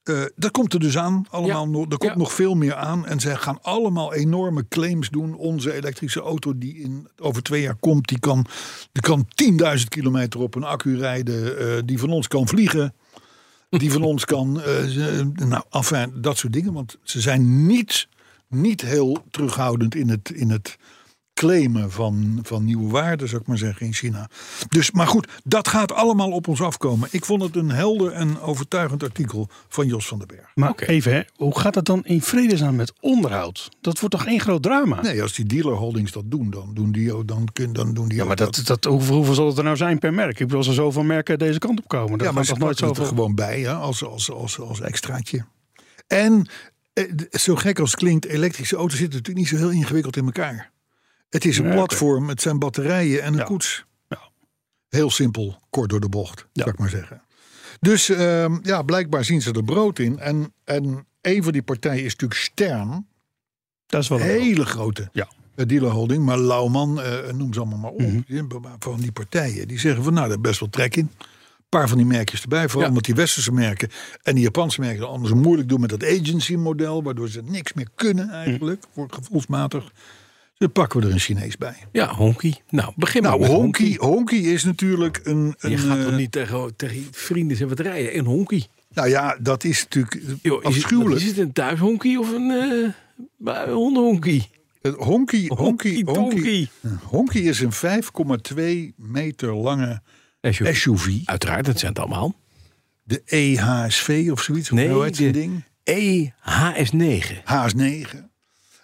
Speaker 6: eh, dat komt er dus aan. Allemaal,
Speaker 3: Ja.
Speaker 6: nog- Er komt
Speaker 3: Ja.
Speaker 6: nog veel meer aan. En zij gaan allemaal enorme claims doen. Onze elektrische auto die in, over twee jaar komt, die kan, die kan 10.000 kilometer op een accu rijden. eh, die van ons kan vliegen. Die van ons kan. eh, ze- nou, enfin, dat soort dingen. Want ze zijn niet, niet heel terughoudend in het, in het claimen van, van nieuwe waarden, zou ik maar zeggen, in China. Dus, maar goed, dat gaat allemaal op ons afkomen. Ik vond het een helder en overtuigend artikel van Jos van den Berg.
Speaker 4: Maar
Speaker 3: Oké.
Speaker 4: even, hè, hoe gaat dat dan in vredesnaam met onderhoud? Dat wordt toch één groot drama?
Speaker 6: Nee, als die dealerholdings dat doen, dan doen die, ook- dan, kun- dan doen die
Speaker 4: Ja,
Speaker 6: ook
Speaker 4: maar dat, dat, hoeveel, hoeveel zal het er nou zijn per merk? Ik bedoel, als er zoveel merken deze kant op komen, dan
Speaker 6: Ja, maar
Speaker 4: gaat
Speaker 6: ze
Speaker 4: toch nooit
Speaker 6: nooit het er
Speaker 4: zoveel...
Speaker 6: gewoon bij, hè, als, als, als, als extraatje. En eh, d- zo gek als het klinkt, elektrische auto's zitten natuurlijk niet zo heel ingewikkeld in elkaar. Het is een
Speaker 4: Nee, oké.
Speaker 6: platform, het zijn batterijen en een
Speaker 4: Ja.
Speaker 6: koets.
Speaker 4: Ja.
Speaker 6: Heel simpel, kort door de bocht, zou ik maar zeggen. Dus ehm, ja, blijkbaar zien ze er brood in. En, en een van die partijen is natuurlijk Stern.
Speaker 4: Dat is wel een-
Speaker 6: Hele grote
Speaker 4: Ja.
Speaker 6: eh, dealerholding. Maar Lauwman, eh, noem ze allemaal maar op.
Speaker 3: Mhm.
Speaker 6: Die- Van die partijen. Die zeggen van nou, daar heb best wel trek in. Een paar van die merkjes erbij. Vooral
Speaker 4: Ja.
Speaker 6: omdat die westerse merken en die Japanse merken het anders moeilijk doen met dat agency model. Waardoor ze niks meer kunnen eigenlijk.
Speaker 3: Mhm.
Speaker 6: Voor gevoelsmatig. Dus dan pakken we er een Chinees bij.
Speaker 3: Ja, honky. Nou, begin
Speaker 6: Nou,
Speaker 3: maar met honky.
Speaker 6: Honky, honky is natuurlijk een... een
Speaker 3: Je gaat
Speaker 6: eh,
Speaker 3: toch niet tegen, tegen je vrienden en wat rijden? Een honky.
Speaker 6: Nou ja, dat is natuurlijk
Speaker 3: Joh, is, het,
Speaker 6: afschuwelijk.
Speaker 3: is het een thuishonky of een eh hondenhonky?
Speaker 6: Het honky, honky, honky,
Speaker 3: Honky-tonky.
Speaker 6: honky is een 5,2 meter lange
Speaker 3: SUV.
Speaker 6: SUV.
Speaker 3: Uiteraard, dat zijn het allemaal.
Speaker 6: De E EHSV of zoiets.
Speaker 3: Nee,
Speaker 6: hoe heet zo'n
Speaker 3: de- E
Speaker 6: ding?
Speaker 3: EHS9,
Speaker 6: HS9.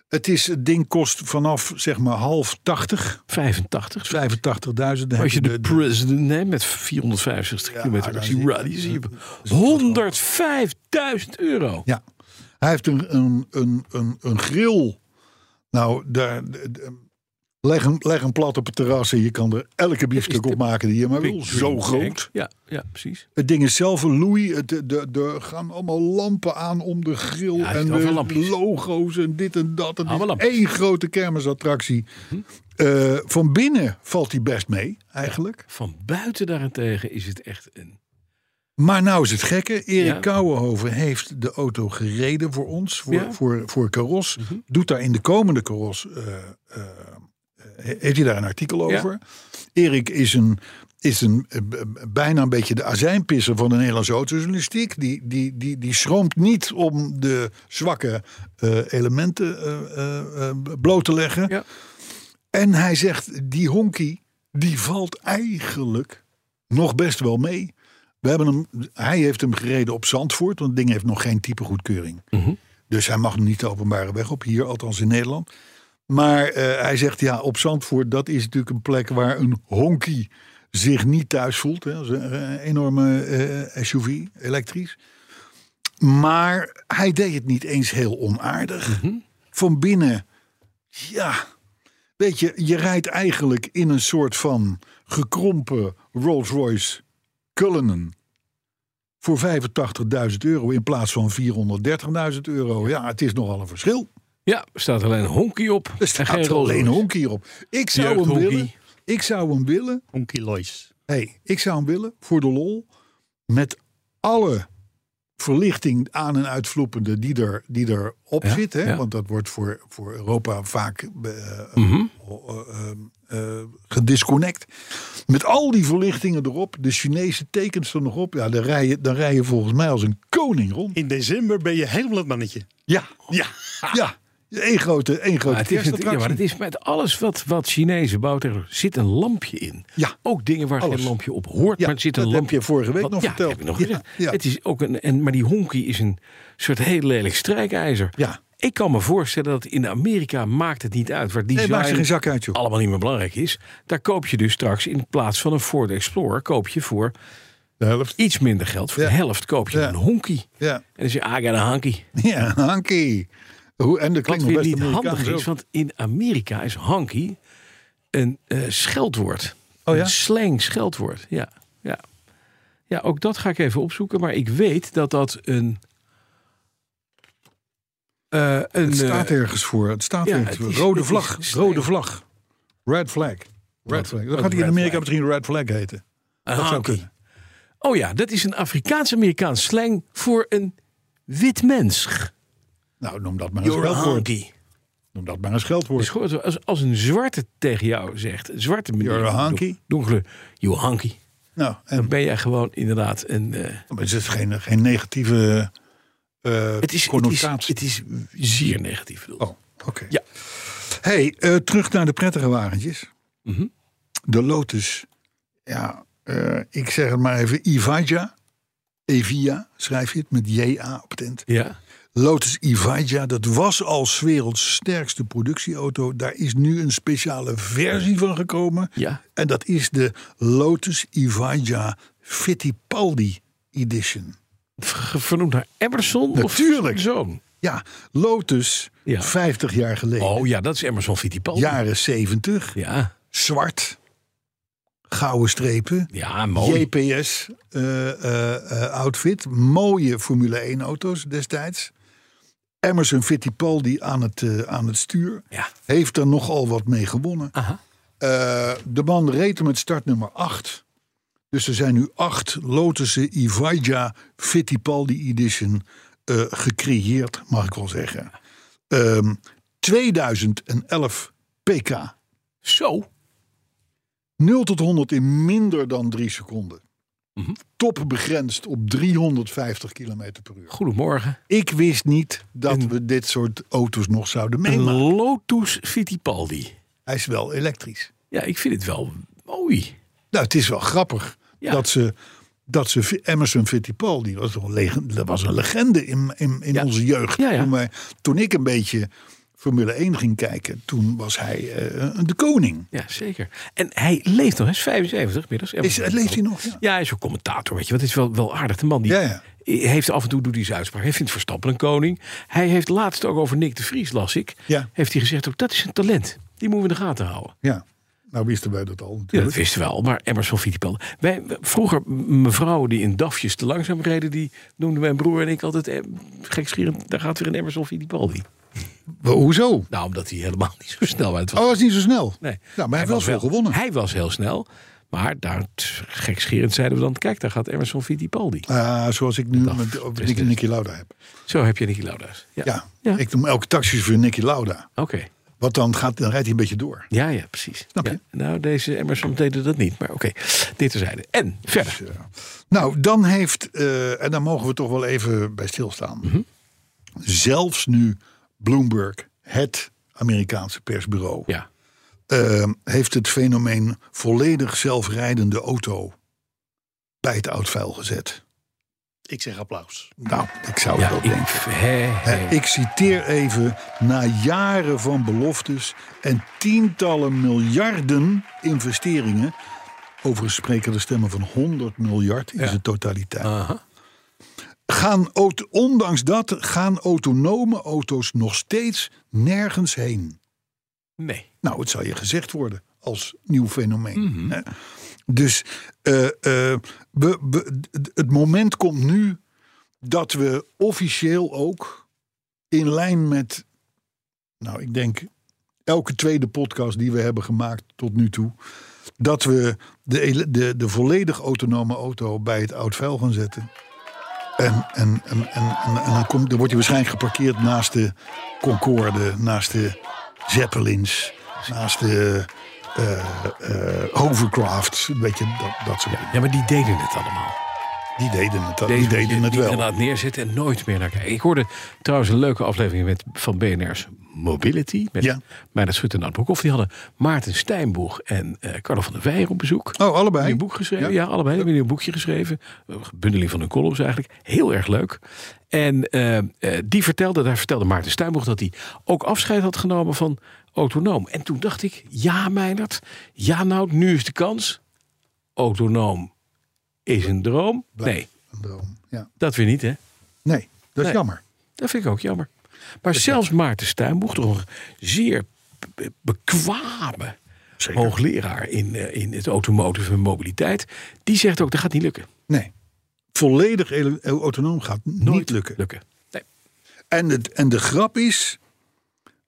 Speaker 6: Het, is, het ding kost vanaf zeg maar half 80,
Speaker 3: 85.
Speaker 6: 85.000. Dan heb
Speaker 3: Als je de
Speaker 6: de-
Speaker 3: president neemt met 465 kilometer
Speaker 6: dan
Speaker 3: per
Speaker 6: zie je-
Speaker 3: radius, zie je 105.000 euro.
Speaker 6: ja. Hij heeft een, een, een, een, een grill. Nou, daar, de- de- leg, hem, leg hem plat op het terras en je kan er elke biefstuk
Speaker 3: de
Speaker 6: op maken die je maar wil.
Speaker 3: Big
Speaker 6: Zo
Speaker 3: Dream
Speaker 6: groot.
Speaker 3: Tank. Ja, ja precies.
Speaker 6: Het ding is zelf een Louis. Het, de, de, er gaan allemaal lampen aan om de grill.
Speaker 3: Ja, hij
Speaker 6: en
Speaker 3: heeft overal
Speaker 6: de
Speaker 3: lampjes.
Speaker 6: logo's en dit en dat. Het
Speaker 3: Allemaal
Speaker 6: is
Speaker 3: lampjes. Mhm.
Speaker 6: één grote kermisattractie. Eh, van binnen valt hij best mee, eigenlijk.
Speaker 3: Van buiten daarentegen is het echt een...
Speaker 6: Maar nou is het gekke. Erik
Speaker 3: Ja.
Speaker 6: Kouwenhoven heeft de auto gereden voor ons. Voor,
Speaker 3: Ja. Mhm.
Speaker 6: voor, voor Caros. Doet daar in de komende Caros... eh, eh, he- heeft hij daar een artikel
Speaker 3: Ja.
Speaker 6: over. Erik is een... Is een, eh, b- b- bijna een beetje de azijnpisser van de Nederlandse autojournalistiek. Die, die, die, die schroomt niet om de zwakke eh, elementen eh, eh, eh, bloot te leggen.
Speaker 3: Ja.
Speaker 6: En hij zegt, die honky, die valt eigenlijk nog best wel mee. We hebben hem, hij heeft hem gereden op Zandvoort, want het ding heeft nog geen typegoedkeuring.
Speaker 3: Mhm.
Speaker 6: Dus hij mag niet de openbare weg op, hier althans in Nederland. Maar eh, hij zegt, ja, op Zandvoort, dat is natuurlijk een plek waar een honky zich niet thuis voelt. Hè. Dat is een eh, enorme eh, SUV, elektrisch. Maar hij deed het niet eens heel onaardig. Van binnen, ja, Weet je, je rijdt eigenlijk in een soort van gekrompen Rolls Royce Cullinan. Voor 85.000 euro in plaats van 430.000 euro. Ja, het is nogal een verschil.
Speaker 3: Ja, er staat alleen een honky op.
Speaker 6: Er
Speaker 3: en geen
Speaker 6: staat
Speaker 3: Rolls
Speaker 6: alleen
Speaker 3: Royce.
Speaker 6: honk hierop. Ik zou hem
Speaker 3: Jeugdhonkie.
Speaker 6: willen. Ik zou hem willen.
Speaker 4: Honky Lois.
Speaker 6: Hey, ik zou hem willen voor de lol. Met alle verlichting aan- en uitvloepende die er, die er op
Speaker 3: Ja,
Speaker 6: zit. Hè?
Speaker 3: ja. Mhm.
Speaker 6: Want dat wordt voor, voor Europa vaak eh, eh, eh, eh, gedisconnect. Met al die verlichtingen erop, de Chinese tekens er nog op. Ja, dan rij je, dan rij je volgens mij als een koning rond.
Speaker 7: In december ben je helemaal het mannetje.
Speaker 6: Ja,
Speaker 7: Ja.
Speaker 6: ja. Eén grote, één grote
Speaker 3: Maar het is, met- ja, maar het is met alles wat, wat Chinezen bouwt, zit een lampje in.
Speaker 6: Ja.
Speaker 3: Ook dingen waar
Speaker 6: Alles.
Speaker 3: geen lampje op hoort,
Speaker 6: Ja,
Speaker 3: maar er zit een
Speaker 6: dat
Speaker 3: lampje.
Speaker 6: heb je vorige week nog
Speaker 3: ja,
Speaker 6: verteld.
Speaker 3: Heb ik nog
Speaker 6: Ja,
Speaker 3: gezegd.
Speaker 6: ja.
Speaker 3: Het is ook een, en, maar die honkie is een soort heel lelijk strijkijzer.
Speaker 6: Ja.
Speaker 3: Ik kan me voorstellen dat in Amerika maakt het niet uit waar die
Speaker 6: Nee, maakt er geen
Speaker 3: zwaaier
Speaker 6: zak uit, joh.
Speaker 3: allemaal niet meer belangrijk is. Daar koop je dus straks in plaats van een Ford Explorer koop je voor
Speaker 6: De helft.
Speaker 3: iets minder geld. Voor de
Speaker 6: Ja.
Speaker 3: helft koop je
Speaker 6: Ja.
Speaker 3: een honkie.
Speaker 6: Ja,
Speaker 3: En dan zeg je, ah, ik heb een hankie.
Speaker 6: ja hankie. Hoe, en dat
Speaker 3: Wat
Speaker 6: klinkt nog
Speaker 3: weer
Speaker 6: best
Speaker 3: niet handig
Speaker 6: Amerikaans
Speaker 3: is, want in Amerika is hanky een eh, scheldwoord.
Speaker 6: Oh ja?
Speaker 3: Een slang scheldwoord, ja. ja. Ja, ook dat ga ik even opzoeken. Maar ik weet dat dat een... eh, een
Speaker 6: Het staat
Speaker 3: eh,
Speaker 6: ergens voor. Het staat
Speaker 3: ja,
Speaker 6: ergens
Speaker 3: het is-
Speaker 6: voor. Rode
Speaker 3: het
Speaker 6: vlag.
Speaker 3: is streng.
Speaker 6: Rode vlag. Red flag. Red
Speaker 3: Wat-
Speaker 6: flag. Dan
Speaker 3: wat
Speaker 6: gaat hij in
Speaker 3: red
Speaker 6: Amerika
Speaker 3: flag?
Speaker 6: misschien red flag heten.
Speaker 3: een
Speaker 6: zou
Speaker 3: hanky.
Speaker 6: kunnen.
Speaker 3: Oh ja, dat is een Afrikaans-Amerikaans slang voor een wit mens.
Speaker 6: Nou, noem dat maar een
Speaker 3: You're a
Speaker 6: scheldwoord.
Speaker 3: hanky.
Speaker 6: Noem dat maar een scheldwoord.
Speaker 3: Dus gewoon als, als een zwarte tegen jou zegt, een zwarte meneer,
Speaker 6: You're a
Speaker 3: don-
Speaker 6: hanky.
Speaker 3: donkere, you're a hanky.
Speaker 6: Nou, en
Speaker 3: Dan ben jij gewoon inderdaad een... eh,
Speaker 6: maar het is geen, geen negatieve eh
Speaker 3: Het is, het, is,
Speaker 6: connotatie.
Speaker 3: het is zeer negatief bedoeld.
Speaker 6: Oh, oké.
Speaker 3: Ja.
Speaker 6: hey, eh, terug naar de prettige wagentjes.
Speaker 3: Mhm.
Speaker 6: De Lotus. Ja, eh, ik zeg het maar even. Ivaja. Evia schrijf je het met J-A op het eind.
Speaker 3: Ja?
Speaker 6: Lotus Evija, dat was als werelds sterkste productieauto. Daar is nu een speciale versie van gekomen.
Speaker 3: Ja.
Speaker 6: En dat is de Lotus Evija Fittipaldi Edition.
Speaker 3: Ver- Vernoemd naar Emerson
Speaker 6: Natuurlijk.
Speaker 3: of zoon?
Speaker 6: Ja, Lotus,
Speaker 3: Ja.
Speaker 6: 50 jaar geleden.
Speaker 3: Oh ja, dat is Emerson Fittipaldi.
Speaker 6: Jaren 70,
Speaker 3: ja,
Speaker 6: zwart, gouden strepen.
Speaker 3: ja mooi.
Speaker 6: eh, JPS-outfit. Mooie Formule 1-auto's destijds. Emerson Fittipaldi aan het, eh, aan het stuur.
Speaker 3: Ja.
Speaker 6: Heeft er nogal wat mee gewonnen.
Speaker 3: Aha.
Speaker 6: Eh, de man reed hem met startnummer 8. Dus er zijn nu acht Lotussen Ivaja Fittipaldi Edition eh, gecreëerd, mag ik wel zeggen. Ehm, 2011 pk.
Speaker 3: Zo.
Speaker 6: 0 tot 100 in minder dan 3 seconden.
Speaker 3: Mhm.
Speaker 6: Top begrensd op 350 km per uur.
Speaker 3: Goedemorgen.
Speaker 6: Ik wist niet dat we dit soort auto's nog zouden
Speaker 3: Een
Speaker 6: meemaken.
Speaker 3: Lotus Fittipaldi.
Speaker 6: Hij is wel elektrisch.
Speaker 3: Ja, ik vind het wel mooi.
Speaker 6: Nou, het is wel grappig
Speaker 3: Ja.
Speaker 6: dat ze. Dat ze Emerson Fittipaldi was toch een legende, dat was een legende in, in, in
Speaker 3: Ja.
Speaker 6: onze jeugd.
Speaker 3: Ja, ja.
Speaker 6: Toen, wij- toen ik een beetje Formule 1 ging kijken, toen was hij eh, de koning.
Speaker 3: Ja, zeker. En hij leeft nog, hij is 75 middags.
Speaker 6: Is,
Speaker 3: Emerson
Speaker 6: leeft hij nog?
Speaker 3: Fittipaldi. Ja, hij is ook commentator, weet je. Want het is wel, wel aardig. De man die
Speaker 6: Ja, ja.
Speaker 3: heeft af en toe doet hij zijn uitspraak. Hij vindt Verstappen een koning. Hij heeft laatst ook over Nick de Vries, las ik.
Speaker 6: Ja.
Speaker 3: Heeft hij gezegd, ook, dat is een talent. Die moeten we in de gaten houden.
Speaker 6: ja. Nou wisten wij dat al.
Speaker 3: Ja,
Speaker 6: natuurlijk.
Speaker 3: dat wisten we al, maar Emerson Fittipaldi. Wij, we- vroeger, m- mevrouwen die in DAFjes te langzaam reden... die noemden mijn broer en ik altijd eh, gekscherend... daar gaat weer een Emerson Fittipaldi.
Speaker 6: Wel, Hoezo?
Speaker 3: Nou, omdat hij helemaal niet zo snel uit was.
Speaker 6: Oh, was niet zo snel.
Speaker 3: Nee.
Speaker 6: Nou, maar hij heeft wel
Speaker 3: was
Speaker 6: veel gewonnen.
Speaker 3: Hij was heel snel, maar daar t- gekscherend zeiden we dan... kijk, daar gaat Emerson Fittipaldi.
Speaker 6: Ah, zoals ik nu
Speaker 3: Dat
Speaker 6: met
Speaker 3: is
Speaker 6: op
Speaker 3: dus-
Speaker 6: Nicky, Nicky Lauda heb.
Speaker 3: Zo heb je Nicky Lauda's. Ja,
Speaker 6: Ja.
Speaker 3: Ja.
Speaker 6: Ik noem elke taxi voor Nicky Lauda.
Speaker 3: oké.
Speaker 6: Want dan, gaat, dan rijdt hij een beetje door.
Speaker 3: Ja, ja, precies.
Speaker 6: Snap je?
Speaker 3: Ja. Nou, deze Emerson deden dat niet, maar oké. Dit terzijde. En, verder.
Speaker 6: Dus, Nou, dan heeft, eh, en daar mogen we toch wel even bij stilstaan.
Speaker 3: Mhm.
Speaker 6: Zelfs nu Bloomberg, het Amerikaanse persbureau,
Speaker 3: Ja,
Speaker 6: eh, heeft het fenomeen volledig zelfrijdende auto bij het oudvuil gezet.
Speaker 4: Ik zeg applaus.
Speaker 6: Nou, ik zou het
Speaker 3: ja
Speaker 6: wel
Speaker 3: ik,
Speaker 6: denken.
Speaker 3: hè, hè.
Speaker 6: Hè, Eh, ik citeer even, na jaren van beloftes en tientallen miljarden investeringen. Overigens spreken de stemmen van 100 miljard in zijn totaliteit.
Speaker 3: Aha.
Speaker 6: Gaan, auto- ondanks dat gaan autonome auto's nog steeds nergens heen.
Speaker 3: Nee.
Speaker 6: Nou, het zal je gezegd worden als nieuw fenomeen. hè. Dus eh, eh, we- we- d- het moment komt nu dat we officieel ook in lijn met, nou, ik denk elke tweede podcast die we hebben gemaakt tot nu toe, dat we de, ele- de, de volledig autonome auto bij het oud vuil gaan zetten. En, en, en, en, en, en dan, komt, dan wordt hij waarschijnlijk geparkeerd naast de Concorde, naast de Zeppelins, Naast de eh, eh, Hovercraft. Een beetje dat, dat soort dingen.
Speaker 3: Ja, maar die deden het allemaal.
Speaker 6: Die deden het, die deden het
Speaker 3: die
Speaker 6: wel.
Speaker 3: gaan aan het neerzetten en nooit meer naar kijken. Ik hoorde trouwens een leuke aflevering met, van BNR's Mobility. Met
Speaker 6: Ja.
Speaker 3: Meijnerd Schut en Ad Broekhoff. Die hadden Maarten Stijnboeg en eh Carlo van der Weijer op bezoek.
Speaker 6: Oh, allebei.
Speaker 3: Een nieuw boek geschreven. Ja, allebei hebben een boekje geschreven. Een bundeling van hun columns eigenlijk. Heel erg leuk. En eh, eh, die vertelde, daar vertelde Maarten Stuyboeg dat hij ook afscheid had genomen van autonoom. En toen dacht ik, ja Meijnerd, ja nou, nu is de kans. Autonoom is een droom. Nee,
Speaker 6: Een droom, Ja.
Speaker 3: dat weer niet hè.
Speaker 6: Nee, dat is
Speaker 3: Nee.
Speaker 6: jammer.
Speaker 3: Dat vind ik ook jammer. Maar zelfs Maarten Stuyboeg, toch een zeer be- bekwame hoogleraar in, eh, in het automotive en mobiliteit, die zegt ook, dat gaat niet lukken.
Speaker 6: Nee. Volledig ele- autonoom gaat niet lukken.
Speaker 3: lukken. Nee.
Speaker 6: En, het, en de grap is,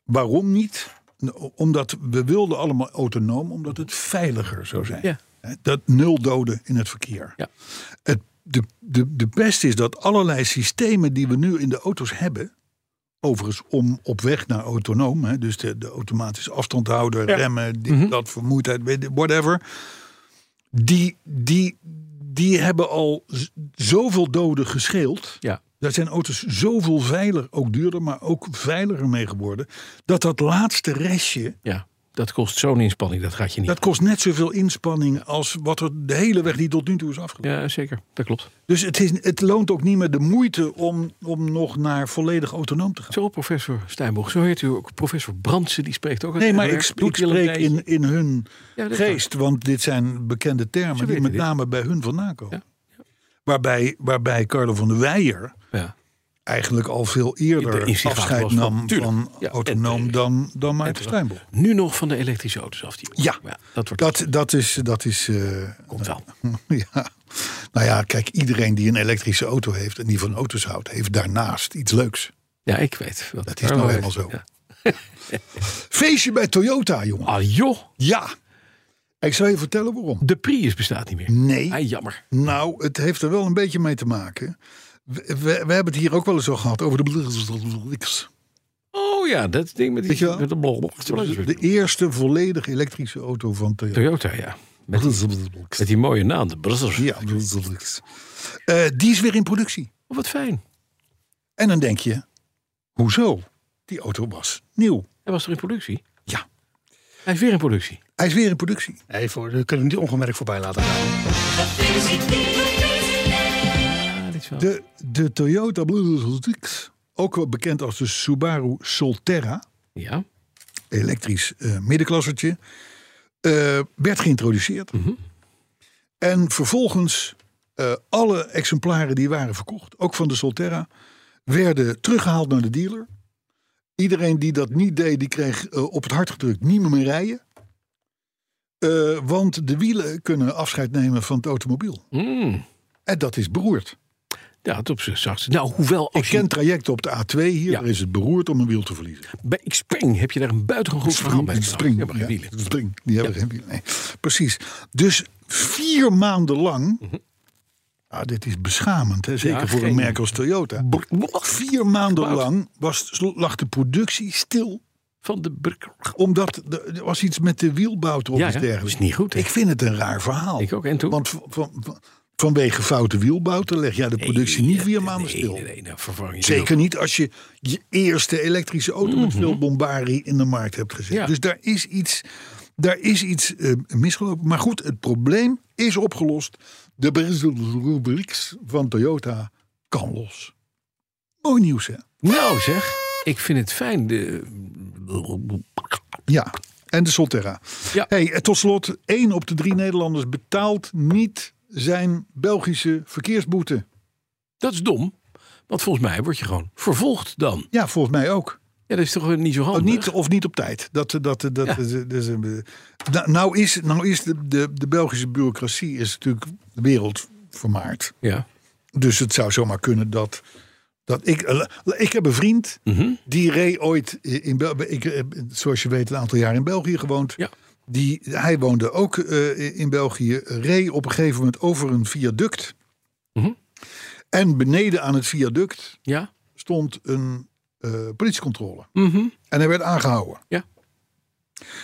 Speaker 6: waarom niet? Nou, Omdat we wilden allemaal autonoom, omdat het veiliger zou zijn.
Speaker 3: Ja.
Speaker 6: Hè, Dat nul doden in het verkeer.
Speaker 3: Ja.
Speaker 6: Het, de, de, de pest is dat allerlei systemen die we nu in de auto's hebben... Overigens om op weg naar autonoom. Hè, dus de, de automatische afstand houden, remmen, dit,
Speaker 3: Mhm.
Speaker 6: dat, vermoeidheid, weet ik, whatever. Die, die, die hebben al z- zoveel doden gescheeld.
Speaker 3: Ja.
Speaker 6: Daar zijn auto's zoveel veiliger, ook duurder, maar ook veiliger mee geworden. Dat dat laatste restje,
Speaker 3: Ja, dat kost zo'n inspanning, dat gaat je niet.
Speaker 6: dat kost net zoveel inspanning als wat er de hele weg die tot nu toe is afgelegd.
Speaker 3: Ja, zeker, dat klopt.
Speaker 6: Dus het, is, het loont ook niet meer de moeite om, om nog naar volledig autonoom te gaan.
Speaker 3: Zo, professor Stijnboeg, zo heet u ook. Professor Brandsen, die spreekt ook. uit
Speaker 6: Nee, maar ik,
Speaker 3: Heidelberg.
Speaker 6: sp- ik
Speaker 3: Doet hij al een
Speaker 6: spreek
Speaker 3: tijdje.
Speaker 6: in, in hun
Speaker 3: Ja, dat
Speaker 6: geest, want dit zijn bekende
Speaker 3: Ze
Speaker 6: termen die
Speaker 3: weten
Speaker 6: met
Speaker 3: dit.
Speaker 6: name bij hun vandaan komen.
Speaker 3: Ja,
Speaker 6: Waarbij, waarbij Carlo van der Weijer
Speaker 3: Ja.
Speaker 6: eigenlijk al veel
Speaker 3: De
Speaker 6: eerder
Speaker 3: instigator
Speaker 6: afscheid
Speaker 3: was van-
Speaker 6: nam
Speaker 3: tuurlijk.
Speaker 6: van
Speaker 3: Ja, en
Speaker 6: autonoom
Speaker 3: terecht.
Speaker 6: dan, dan Maarten
Speaker 3: terecht.
Speaker 6: Stijnboeg.
Speaker 3: Nu nog van de elektrische auto's af. Die
Speaker 6: Ja.
Speaker 3: dat wordt,
Speaker 6: Dat, dat is. Dat is eh,
Speaker 3: komt wel.
Speaker 6: ja. Nou ja, kijk, iedereen die een elektrische auto heeft en die van auto's houdt, heeft daarnaast iets leuks.
Speaker 3: Ja, ik weet. wat
Speaker 6: Dat is
Speaker 3: Carlo
Speaker 6: nou
Speaker 3: weet.
Speaker 6: helemaal zo.
Speaker 3: Ja.
Speaker 6: Feestje bij Toyota, jongen.
Speaker 3: Ah joh,
Speaker 6: Ja. Ik zal je vertellen waarom.
Speaker 3: de Prius bestaat niet meer.
Speaker 6: Nee.
Speaker 3: Ah, jammer.
Speaker 6: Nou, het heeft er wel een beetje mee te maken. We, we, we hebben het hier ook wel eens zo gehad over de.
Speaker 3: Oh ja, dat ding met
Speaker 6: Weet je
Speaker 3: die...
Speaker 6: wel?
Speaker 3: Met de blog.
Speaker 6: De eerste volledig elektrische auto van Toyota.
Speaker 3: Toyota, ja. Met die, met die mooie naam, de Brussels.
Speaker 6: Ja. Eh, die is weer in productie.
Speaker 3: Oh, wat fijn.
Speaker 6: En dan denk je, hoezo? Die auto was nieuw.
Speaker 3: Hij was er in productie?
Speaker 6: Ja.
Speaker 3: Hij is weer in productie.
Speaker 6: Hij is weer in productie.
Speaker 4: Nee, voor, dat kunnen we niet ongemerkt voorbij laten gaan.
Speaker 3: Ah, dit is wel...
Speaker 6: De, de Toyota, ook wel bekend als de Subaru Solterra,
Speaker 3: Ja.
Speaker 6: elektrisch eh middenklassertje, eh, werd geïntroduceerd. En vervolgens eh, alle exemplaren die waren verkocht, ook van de Solterra, werden teruggehaald naar de dealer. Iedereen die dat niet deed, die kreeg eh, op het hart gedrukt niet meer meer rijden. Eh, want de wielen kunnen afscheid nemen van het automobiel.
Speaker 3: Mm.
Speaker 6: En dat is beroerd.
Speaker 3: Ja, het op zich zacht. Nou, hoewel
Speaker 6: Ik
Speaker 3: als je
Speaker 6: ken trajecten op de A2 hier,
Speaker 3: Ja.
Speaker 6: daar is het beroerd om een wiel te verliezen.
Speaker 3: Bij Ik Spring heb je daar een buitengewoon goed verhaal mee. gedaan.
Speaker 6: spring,
Speaker 3: Ja, maar
Speaker 6: ja,
Speaker 3: wielen.
Speaker 6: spring. Die hebben geen wielen. Nee. Precies. Dus vier maanden lang. Ah, dit is beschamend, hè? zeker
Speaker 3: Mhm. Ja,
Speaker 6: voor een
Speaker 3: geen-
Speaker 6: merk als Toyota. Vier maanden lang was, lag de productie stil.
Speaker 3: Van de Bruk.
Speaker 6: Omdat de- er was iets met de wielbouten of
Speaker 3: Ja,
Speaker 6: iets
Speaker 3: ja,
Speaker 6: dergelijks.
Speaker 3: is niet goed, hè?
Speaker 6: Ik vind het een raar verhaal.
Speaker 3: Ik ook, en toen?
Speaker 6: Want van, van- vanwege foute wielbouten leg jij de productie niet vier maanden
Speaker 3: nee,
Speaker 6: stil.
Speaker 3: Nee, nee, nou vervang je
Speaker 6: Zeker niet als je je eerste elektrische auto met veel bombarie in de markt hebt gezet.
Speaker 3: Ja.
Speaker 6: Dus daar is iets, daar is iets eh, misgelopen. Maar goed, het probleem is opgelost. De rubrieks van Toyota kan los. Mooi nieuws, hè?
Speaker 3: wel. Nou zeg, ik vind het fijn. De...
Speaker 6: Ja. En de Solterra.
Speaker 3: Ja.
Speaker 6: Hey, en tot slot, één op de drie Nederlanders betaalt niet zijn Belgische verkeersboete.
Speaker 3: Dat is dom. Want volgens mij word je gewoon vervolgd dan.
Speaker 6: Ja, volgens mij ook.
Speaker 3: Ja, dat is toch eh, niet zo
Speaker 6: Of
Speaker 3: handig?
Speaker 6: Oh, niet, of niet op tijd. Dat, dat, dat, dat,
Speaker 3: Ja.
Speaker 6: dat- dat- nou, nou is, nou is de, de, de Belgische bureaucratie is natuurlijk wereldvermaard.
Speaker 3: Ja.
Speaker 6: Dus het zou zomaar kunnen dat. dat ik, eh, ik heb een vriend die reed ooit in België. Ik heb, zoals je weet, een aantal jaar in België gewoond.
Speaker 3: Ja.
Speaker 6: Die, hij woonde ook eh, in België. Reed op een gegeven moment over een viaduct.
Speaker 3: Mhm.
Speaker 6: En beneden aan het viaduct
Speaker 3: Ja. Mhm.
Speaker 6: stond een eh, politiecontrole. En hij werd aangehouden.
Speaker 3: Ja.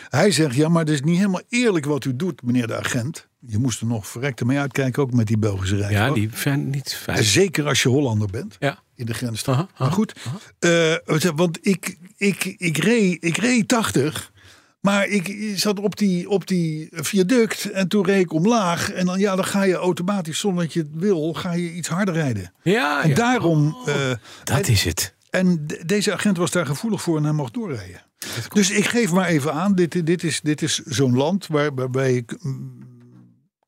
Speaker 6: Hij zegt, ja, maar het is niet helemaal eerlijk wat u doet, meneer de agent. Je moest er nog verrekte mee uitkijken, ook met die Belgische rij.
Speaker 3: Ja, die zijn niet
Speaker 6: En
Speaker 3: fijn.
Speaker 6: zeker als je Hollander bent.
Speaker 3: Ja.
Speaker 6: In de grens.
Speaker 3: Aha, aha,
Speaker 6: maar goed, eh, wat- want ik, ik, ik, reed, ik reed 80. Maar ik zat op die, op die viaduct en toen reed ik omlaag. En dan, ja, dan ga je automatisch, zonder dat je het wil, ga je iets harder rijden.
Speaker 3: Ja,
Speaker 6: en
Speaker 3: Ah, ja. Oh,
Speaker 6: daarom... eh,
Speaker 3: dat is het.
Speaker 6: en de- deze agent was daar gevoelig voor en hij mocht doorrijden. Dus ik geef maar even aan, dit, dit is, dit is zo'n land waar, waarbij ik mm,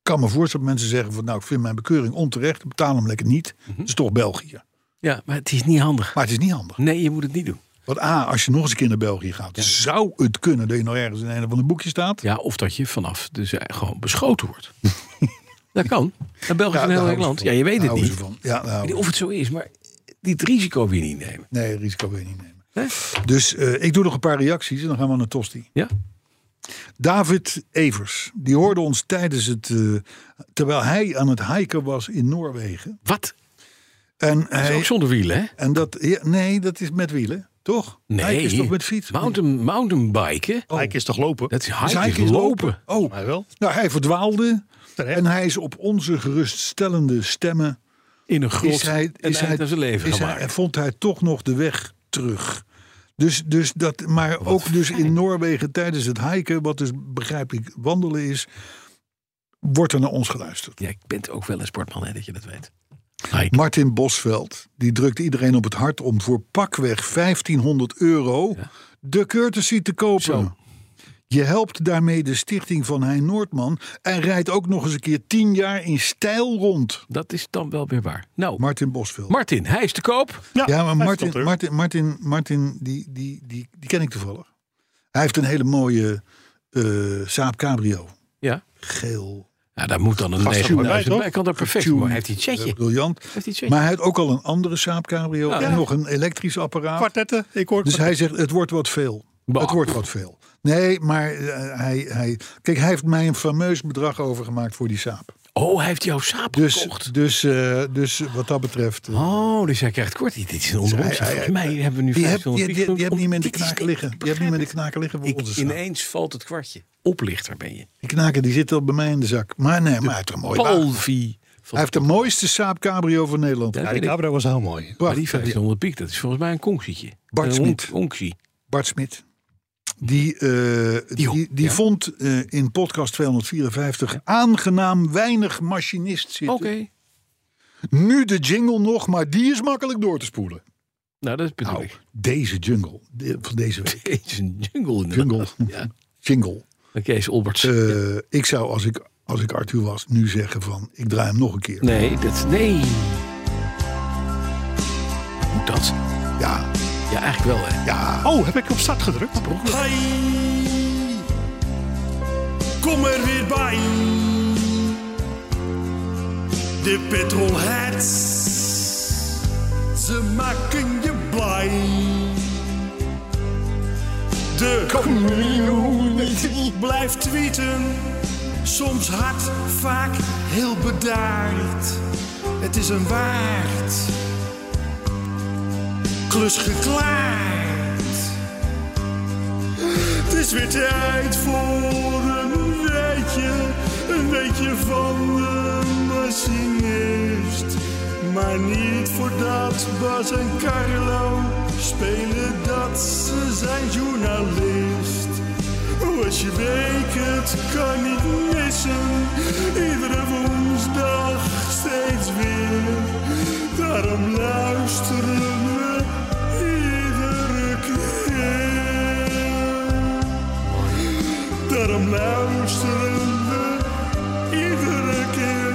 Speaker 6: kan me voorstellen dat mensen zeggen van nou ik vind mijn bekeuring onterecht, betaal hem lekker niet.
Speaker 3: Mhm.
Speaker 6: Het is toch België.
Speaker 3: Ja, maar het is niet handig.
Speaker 6: Maar het is niet handig.
Speaker 3: Nee, je moet het niet doen.
Speaker 6: Want A, als je nog eens een keer naar België gaat, zou het kunnen dat je nog ergens in een van de boekje staat.
Speaker 3: Ja, of dat je vanaf de zij gewoon beschoten wordt. dat kan. En België is
Speaker 6: daar
Speaker 3: een heel
Speaker 6: houden
Speaker 3: erg
Speaker 6: ze
Speaker 3: land.
Speaker 6: van.
Speaker 3: Ja, je weet
Speaker 6: Daar
Speaker 3: het
Speaker 6: houden
Speaker 3: niet.
Speaker 6: ze van. Ja, daar houden
Speaker 3: Of het zo is, maar dit risico weer niet nemen.
Speaker 6: ze- nee, risico wil je niet nemen.
Speaker 3: Hè?
Speaker 6: Dus eh, ik doe nog een paar reacties en dan gaan we naar Tosti.
Speaker 3: Ja?
Speaker 6: David Evers, die hoorde ons tijdens het. eh, terwijl hij aan het hiken was in Noorwegen.
Speaker 3: Wat?
Speaker 6: En,
Speaker 3: Dat is
Speaker 6: hij,
Speaker 3: ook zonder wielen, hè?
Speaker 6: en dat. ja, nee, dat is met wielen, toch?
Speaker 3: Nee.
Speaker 6: Hiken is toch met fiets?
Speaker 3: Mountain, mountainbiken.
Speaker 4: Lijk is toch lopen?
Speaker 3: Dat is
Speaker 6: Dus
Speaker 3: hike
Speaker 6: hiken is
Speaker 3: lopen.
Speaker 6: Oh,
Speaker 4: Hij wel.
Speaker 6: nou, hij verdwaalde.
Speaker 4: Terecht.
Speaker 6: En hij is op onze geruststellende stemmen.
Speaker 3: In een grot.
Speaker 6: Is hij,
Speaker 3: en
Speaker 6: is hij,
Speaker 3: aan zijn leven
Speaker 6: is hij,
Speaker 3: gemaakt.
Speaker 6: en vond hij toch nog de weg terug. Dus, dus dat, maar ook dus in Noorwegen tijdens het hiken, wat dus begrijp ik wandelen is, wordt er naar ons geluisterd.
Speaker 3: Ja, ik ben ook wel een sportman, hè, dat je dat weet. Hike.
Speaker 6: Martin Bosveld, die drukt iedereen op het hart om voor pakweg 1500 euro de courtesy te kopen.
Speaker 3: Zo.
Speaker 6: Je helpt daarmee de stichting van Hein Noordman en rijdt ook nog eens een keer 10 jaar in stijl rond.
Speaker 3: Dat is dan wel weer waar. Nou,
Speaker 6: Martin Bosveld.
Speaker 3: Martin, hij is te koop.
Speaker 6: ja, maar
Speaker 4: hij
Speaker 6: Martin,
Speaker 4: stond er.
Speaker 6: Martin, Martin, Martin die, die, die, die ken ik toevallig. Hij heeft een hele mooie eh Saab Cabrio.
Speaker 3: Ja.
Speaker 6: Geel.
Speaker 3: Ja, daar moet dan een
Speaker 4: Past er maar bij,
Speaker 3: 9000
Speaker 4: toch?
Speaker 3: bij. Kan dat perfect. Maar hij heeft die
Speaker 6: eh,
Speaker 3: chetje.
Speaker 6: Briljant.
Speaker 3: Heeft hij een
Speaker 6: Maar hij heeft ook al een andere Saab Cabrio
Speaker 3: Ja.
Speaker 6: en nog een elektrisch apparaat.
Speaker 4: Kwartetten, ik hoor
Speaker 6: Dus hij zegt, het wordt wat veel.
Speaker 3: Bah.
Speaker 6: Het wordt wat veel. Nee, maar eh, hij, hij... Kijk, hij heeft mij een fameus bedrag overgemaakt voor die saap.
Speaker 3: Oh, hij heeft jouw saap
Speaker 6: Dus,
Speaker 3: gekocht.
Speaker 6: dus, eh, dus wat dat betreft... eh,
Speaker 3: Oh, dus hij krijgt kort. Dit is een onderhoud.
Speaker 6: hij- hij-
Speaker 3: Volgens mij hebben we nu
Speaker 6: die, heb, die,
Speaker 3: 500
Speaker 6: die,
Speaker 3: piek
Speaker 6: die hebt niet meer in de
Speaker 3: Dit is
Speaker 6: knaken
Speaker 3: niet-
Speaker 6: liggen. Die hebt niet meer in de knaken liggen voor onze
Speaker 3: Ik,
Speaker 6: saap.
Speaker 3: ineens valt het kwartje. Oplichter ben je.
Speaker 6: Die knaken die zitten al bij mij in de zak. Maar nee, maar hij heeft een mooie wagen.
Speaker 3: Polvi.
Speaker 6: Hij heeft de mooiste saap cabrio van Nederland.
Speaker 3: Ja,
Speaker 4: Ja, die
Speaker 3: weet ik.
Speaker 4: cabra was heel mooi.
Speaker 3: Maar die
Speaker 6: Prachtig.
Speaker 3: 1500 piek, dat is volgens mij een konksietje.
Speaker 6: Bart
Speaker 3: een
Speaker 6: Smit.
Speaker 3: onk- onksie.
Speaker 6: Bart Smit. Die, eh, die,
Speaker 3: Die-
Speaker 6: die,
Speaker 3: ja.
Speaker 6: vond eh, in podcast 254 aangenaam weinig machinist zitten.
Speaker 3: Oké.
Speaker 6: Nu de jingle nog, maar die is makkelijk door te spoelen.
Speaker 3: Nou, dat bedoel
Speaker 6: Nou,
Speaker 3: ik.
Speaker 6: deze jingle de- van deze week.
Speaker 3: Het is een jungle in de
Speaker 6: Jungle.
Speaker 3: Ja.
Speaker 6: Jingle.
Speaker 3: Van Kees Olberts.
Speaker 6: Eh, Ik zou, als ik, als ik Arthur was, nu zeggen van... ik draai hem nog een keer.
Speaker 3: nee, dat... Nee. Moet dat?
Speaker 6: Ja,
Speaker 3: Ja, eigenlijk wel, hè.
Speaker 6: ja.
Speaker 4: Oh, heb ik op start gedrukt?
Speaker 7: Hai, kom er weer bij. De petrolheads, ze maken je blij. De community blijft tweeten, soms hard, vaak heel bedaard. Het is een waard, klus geklaard. Het is weer tijd voor een weetje, een weetje van de machinist. Maar niet voordat Bas en Carlo spelen dat ze zijn journalist. Hoe Als je week het kan niet missen, iedere woensdag steeds weer. Daarom luisteren we iedere keer. Daarom luisteren we iedere keer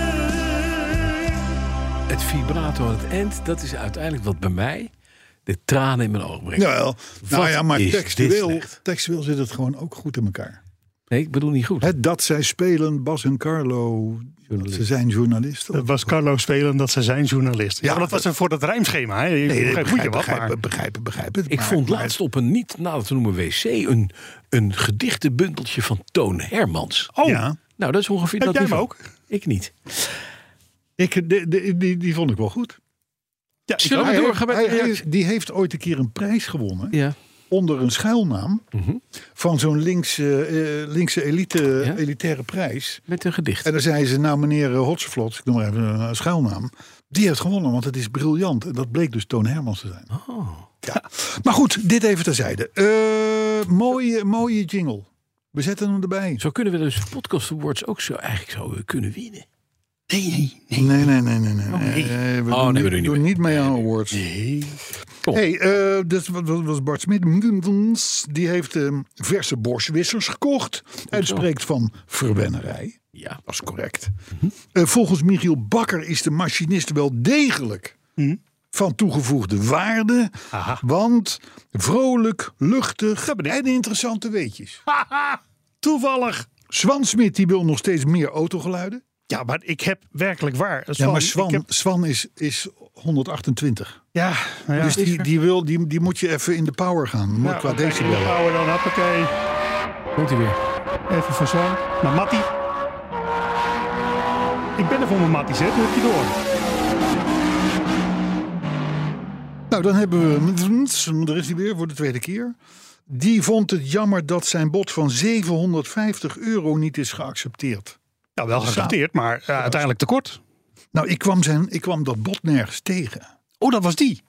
Speaker 7: weer.
Speaker 3: Het vibrato aan het eind, dat is uiteindelijk wat bij mij de tranen in mijn ogen brengt.
Speaker 6: Jawel. Nou
Speaker 3: Wat
Speaker 6: ja, maar
Speaker 3: is dit
Speaker 6: textueel,
Speaker 3: slecht.
Speaker 6: textueel zit het gewoon ook goed in elkaar.
Speaker 3: Nee, ik bedoel niet goed.
Speaker 6: Hè, dat zij spelen, Bas en Carlo, ze zijn journalisten.
Speaker 4: Dat was Carlo Spelen dat ze zijn journalist. Ja,
Speaker 6: Ja,
Speaker 4: maar dat was een voor dat rijmschema. Hè? Je
Speaker 6: Nee,
Speaker 4: begrijpt-
Speaker 6: begrijp,
Speaker 4: moet je
Speaker 6: begrijp,
Speaker 4: wat, maar-
Speaker 6: begrijp, begrijp, begrijp het.
Speaker 3: Ik
Speaker 6: maar-
Speaker 3: vond
Speaker 6: maar-
Speaker 3: laatst op een niet nader te noemen wc een, een gedichtenbundeltje van Toon Hermans.
Speaker 4: Oh,
Speaker 6: Ja.
Speaker 3: Nou, dat is ongeveer
Speaker 4: Heb
Speaker 3: dat
Speaker 4: jij hem
Speaker 3: niveau. Ik niet.
Speaker 6: Ik, de- de- die, die vond ik wel goed.
Speaker 4: Ja, ik
Speaker 3: Zullen
Speaker 4: ook.
Speaker 3: we
Speaker 6: Hij-
Speaker 3: doorgaan met
Speaker 6: hij-
Speaker 3: de
Speaker 6: hij-
Speaker 3: eerste?
Speaker 6: Die heeft ooit een keer een prijs gewonnen.
Speaker 3: Ja. Mhm.
Speaker 6: onder een schuilnaam van zo'n linkse, eh, linkse elite,
Speaker 3: Ja?
Speaker 6: elitaire prijs.
Speaker 3: Met een gedicht.
Speaker 6: En dan zeiden ze, nou meneer eh, Hotsevlot, ik noem maar even een eh, schuilnaam. Die heeft gewonnen, want het is briljant. En dat bleek dus Toon Hermans te zijn.
Speaker 3: Oh.
Speaker 6: Ja. Maar goed, dit even terzijde. Eh, mooie, mooie jingle. We zetten hem erbij.
Speaker 3: Zo kunnen we dus podcast awards ook zo eigenlijk zo eh, kunnen winnen.
Speaker 4: Nee, nee, nee.
Speaker 6: Nee, nee, nee, nee. nee. Eh, we
Speaker 3: Oh, nee, we doen
Speaker 6: doen, niet,
Speaker 3: niet
Speaker 6: doen
Speaker 3: mee.
Speaker 6: niet mee aan awards.
Speaker 3: Kom.
Speaker 6: Hey, eh, dat was- dat was Bart Smit. Die heeft eh, verse borstwissers gekocht. En spreekt van verwennerij.
Speaker 3: Ja. Mhm.
Speaker 6: Dat is correct. Eh, volgens Michiel Bakker is de machinist wel degelijk
Speaker 3: Mhm.
Speaker 6: van toegevoegde waarde. Want vrolijk, luchtig en interessante weetjes.
Speaker 4: Toevallig.
Speaker 6: Swan Smit die wil nog steeds meer autogeluiden.
Speaker 4: Ja, maar ik heb werkelijk waar. Swan,
Speaker 6: Ja, maar
Speaker 4: ik
Speaker 6: Swan,
Speaker 4: heb-
Speaker 6: Swan is, is 128.
Speaker 4: ja, nou ja.
Speaker 6: dus die, die, wil, die, die moet je even in de power gaan. Maar
Speaker 4: Ja,
Speaker 6: qua
Speaker 4: oké,
Speaker 6: decibellen.
Speaker 4: Ouwe dan, hoppakee.
Speaker 3: Komt hij weer.
Speaker 4: Even van zo naar Mattie. Ik ben er voor mijn Matties, hè? Dat heb je door.
Speaker 6: Nou, dan hebben we. Er is hij weer voor de tweede keer. Die vond het jammer dat zijn bod van 750 euro niet is geaccepteerd.
Speaker 4: Ja, Nou, wel geaccepteerd, maar eh, uiteindelijk tekort.
Speaker 6: Nou, ik kwam, zijn, ik kwam dat bod nergens tegen.
Speaker 4: Oh, dat was die.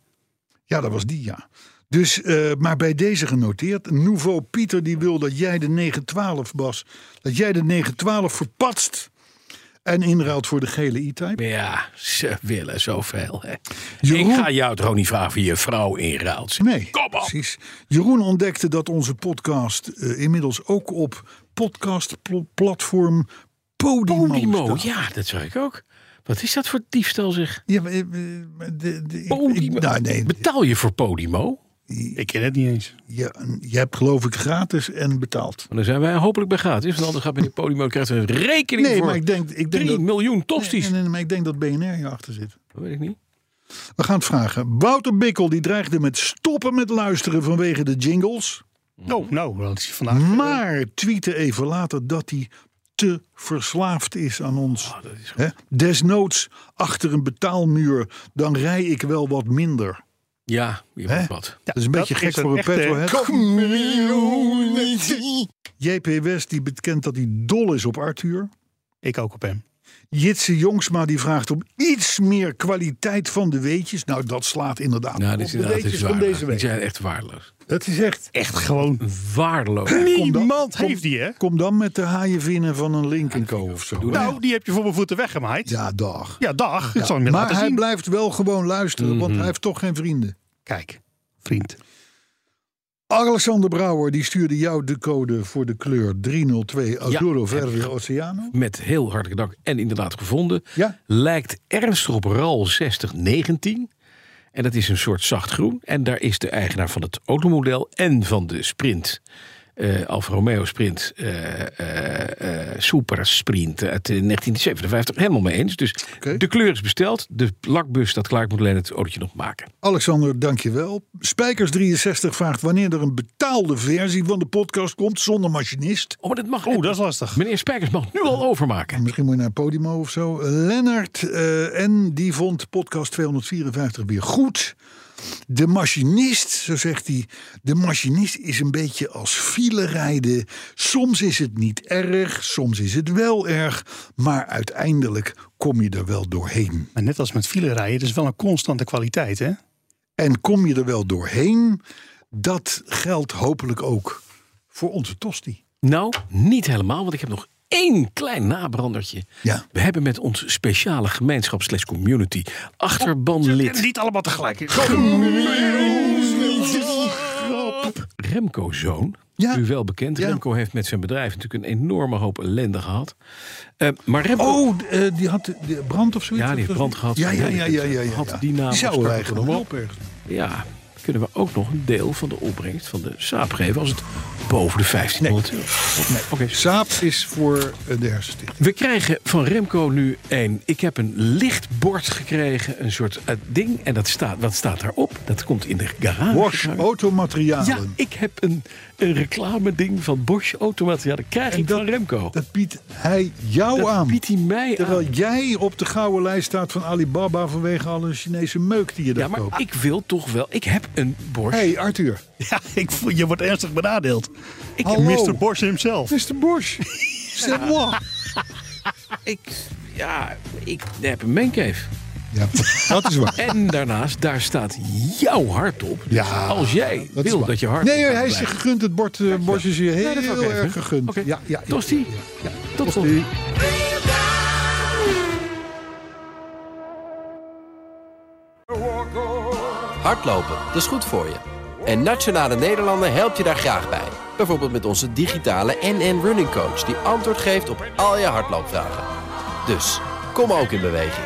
Speaker 6: Ja, dat was die, ja. Dus, eh, maar bij deze genoteerd. Nouveau Pieter die wil dat jij de 912, Bas, dat jij de 912 verpatst. En inruilt voor de gele E-Type.
Speaker 3: Ja, ze willen zoveel. Hè.
Speaker 6: Jeroen-
Speaker 3: Ik ga jou toch ook niet vragen voor je vrouw inruilt.
Speaker 6: Nee,
Speaker 3: Kom op.
Speaker 6: precies. Jeroen ontdekte dat onze podcast eh, inmiddels ook op podcastplatform Podimo,
Speaker 3: Podimo,
Speaker 6: staat.
Speaker 3: ja, dat zag ik ook. Wat is dat voor diefstal zeg?
Speaker 6: Ja, maar, eh, maar de, de, ik-
Speaker 3: Podimo.
Speaker 6: ik- nou, nee,
Speaker 3: Betaal je voor Podimo?
Speaker 4: Ik ken het niet eens.
Speaker 6: je, je hebt geloof ik gratis en betaald.
Speaker 3: Maar dan zijn wij hopelijk bij gratis. Want anders gaat meneer Podimo krijgt een rekening
Speaker 6: Nee,
Speaker 3: voor
Speaker 6: maar ik denk, ik denk
Speaker 3: 3
Speaker 6: dat...
Speaker 3: miljoen tosties.
Speaker 6: Nee, nee, nee, maar ik denk dat BNR hierachter zit.
Speaker 3: Dat weet ik niet.
Speaker 6: We gaan het vragen. Wouter Bikkel die dreigde met stoppen met luisteren vanwege de jingles.
Speaker 4: Oh, nou, dat is vandaag.
Speaker 6: Maar tweette even later dat hij te verslaafd is aan ons. Hè? Desnoods achter een betaalmuur, dan rij ik wel wat minder.
Speaker 3: Ja, je
Speaker 6: Hè?
Speaker 3: moet wat.
Speaker 6: dat is een beetje
Speaker 4: dat
Speaker 6: gek
Speaker 4: is een
Speaker 6: voor een
Speaker 4: echte
Speaker 6: petrolhead. JP West die bekent dat hij dol is op Arthur.
Speaker 4: Ik ook op hem.
Speaker 6: Jitse Jongsma die vraagt om iets meer kwaliteit van de weetjes. Nou, dat slaat inderdaad
Speaker 3: Nou,
Speaker 6: op
Speaker 3: dit is
Speaker 6: de
Speaker 3: inderdaad
Speaker 6: weetjes
Speaker 3: is
Speaker 6: van
Speaker 3: waardeloos.
Speaker 6: deze
Speaker 3: Die
Speaker 6: week.
Speaker 3: zijn echt waardeloos.
Speaker 6: Dat is echt...
Speaker 4: Echt gewoon.
Speaker 3: Waardeloos.
Speaker 4: Niemand
Speaker 6: kom-
Speaker 4: heeft die, hè?
Speaker 6: Kom dan met de haaienvinnen van een Lincoln Co. of zo.
Speaker 4: Nou, die heb je voor mijn voeten weggemaaid. Ja,
Speaker 6: Ja, dag.
Speaker 4: dag. Ik zal hem je
Speaker 6: Maar
Speaker 4: laten
Speaker 6: hij
Speaker 4: zien.
Speaker 6: blijft wel gewoon luisteren, want hij heeft toch geen vrienden.
Speaker 4: Kijk, vriend.
Speaker 6: Alexander Brouwer die stuurde jou de code voor de kleur 302 Azuro
Speaker 3: heb
Speaker 6: Verde Oceano.
Speaker 3: Met heel hartelijk dank. En inderdaad gevonden.
Speaker 6: Ja.
Speaker 3: Lijkt ernstig op RAL 6019. En dat is een soort zacht groen. En daar is de eigenaar van het automodel en van de Sprint. eh Alfa Romeo Sprint, eh eh, eh, Super Sprint uit eh, 1957. Helemaal mee eens. Dus
Speaker 6: Oké.
Speaker 3: de kleur is besteld. De lakbus dat klaar moet alleen het autootje nog maken.
Speaker 6: Alexander, dankjewel. Spijkers63 vraagt wanneer er een betaalde versie van de podcast komt zonder machinist.
Speaker 3: Oh, maar dat mag.
Speaker 4: Oeh, dat is lastig.
Speaker 3: Meneer Spijkers mag nu al overmaken.
Speaker 6: Misschien moet je naar Podimo of zo. Lennart eh, en die vond podcast 254 weer goed. De machinist, zo zegt hij, de machinist is een beetje als file rijden. Soms is het niet erg, soms is het wel erg, maar uiteindelijk kom je er wel doorheen.
Speaker 4: Maar net als met file rijden, het is wel een constante kwaliteit, hè?
Speaker 6: En kom je er wel doorheen, dat geldt hopelijk ook voor onze Tosti.
Speaker 3: Nou, niet helemaal, want ik heb nog één klein nabrandertje.
Speaker 6: Ja.
Speaker 3: We hebben met ons speciale gemeenschap slash community achterbanlid
Speaker 4: Niet allemaal tegelijk.
Speaker 3: Remco Zoon.
Speaker 6: Ja.
Speaker 3: U wel bekend.
Speaker 6: Ja.
Speaker 3: Remco heeft met zijn bedrijf natuurlijk een enorme hoop ellende gehad. Eh, maar Remco...
Speaker 6: Oh, eh, die had de brand of zoiets?
Speaker 3: Ja, die heeft brand gehad.
Speaker 6: Ja, ja, ja, ja. ja, ja, ja.
Speaker 3: Had die naam
Speaker 6: zouden wij
Speaker 3: gesproken
Speaker 6: gewoon op ergens.
Speaker 3: Ja. kunnen we ook nog een deel van de opbrengst van de saap geven als het boven de 1500 euro. Nee. Oké.
Speaker 6: Saap is voor eh, de hersenstichting.
Speaker 3: We krijgen van Remco nu een. Ik heb een lichtbord gekregen, een soort eh, ding. En dat staat, wat staat daarop? Dat komt in de garage.
Speaker 6: Bosch
Speaker 3: Ja,
Speaker 6: Automaterialen.
Speaker 3: ik heb een, een reclame-ding van Bosch Automateriaal. Dat krijg ik
Speaker 6: dat-
Speaker 3: van Remco.
Speaker 6: Dat biedt hij jou
Speaker 3: Dat
Speaker 6: aan.
Speaker 3: biedt hij mij
Speaker 6: Terwijl
Speaker 3: aan.
Speaker 6: jij op de gouden lijst staat van Alibaba vanwege alle Chinese meuk die je daar
Speaker 3: Ja, maar
Speaker 6: koopt.
Speaker 3: ik wil toch wel. Ik heb een Bosch.
Speaker 6: Hé, hey, Arthur.
Speaker 4: Ja, ik voel, je wordt ernstig benadeeld.
Speaker 3: ik,
Speaker 6: hallo.
Speaker 4: Mr. Bosch himself.
Speaker 6: Mr. Bosch. C'est moi.
Speaker 3: ik, ja, ik heb een mancave.
Speaker 6: Ja, dat is waar.
Speaker 3: En daarnaast, daar staat jouw hart op. Dus
Speaker 6: Ja,
Speaker 3: als jij
Speaker 6: Dat is
Speaker 3: wil
Speaker 6: waar.
Speaker 3: dat je hart.
Speaker 6: Nee,
Speaker 3: op
Speaker 6: hij is je
Speaker 3: blijft.
Speaker 6: gegund. Het bord, eh, Bosch is je heel
Speaker 3: Nee, dat wou ik
Speaker 6: erg
Speaker 3: even.
Speaker 6: gegund.
Speaker 3: Oké.
Speaker 6: Ja, ja, ja.
Speaker 3: Tosti. Tot
Speaker 6: Tosti.
Speaker 3: volgende.
Speaker 7: Hardlopen, dat is goed voor je. En Nationale Nederlanden helpt je daar graag bij. Bijvoorbeeld met onze digitale NN Running Coach... die antwoord geeft op al je hardloopvragen. Dus, kom ook in beweging.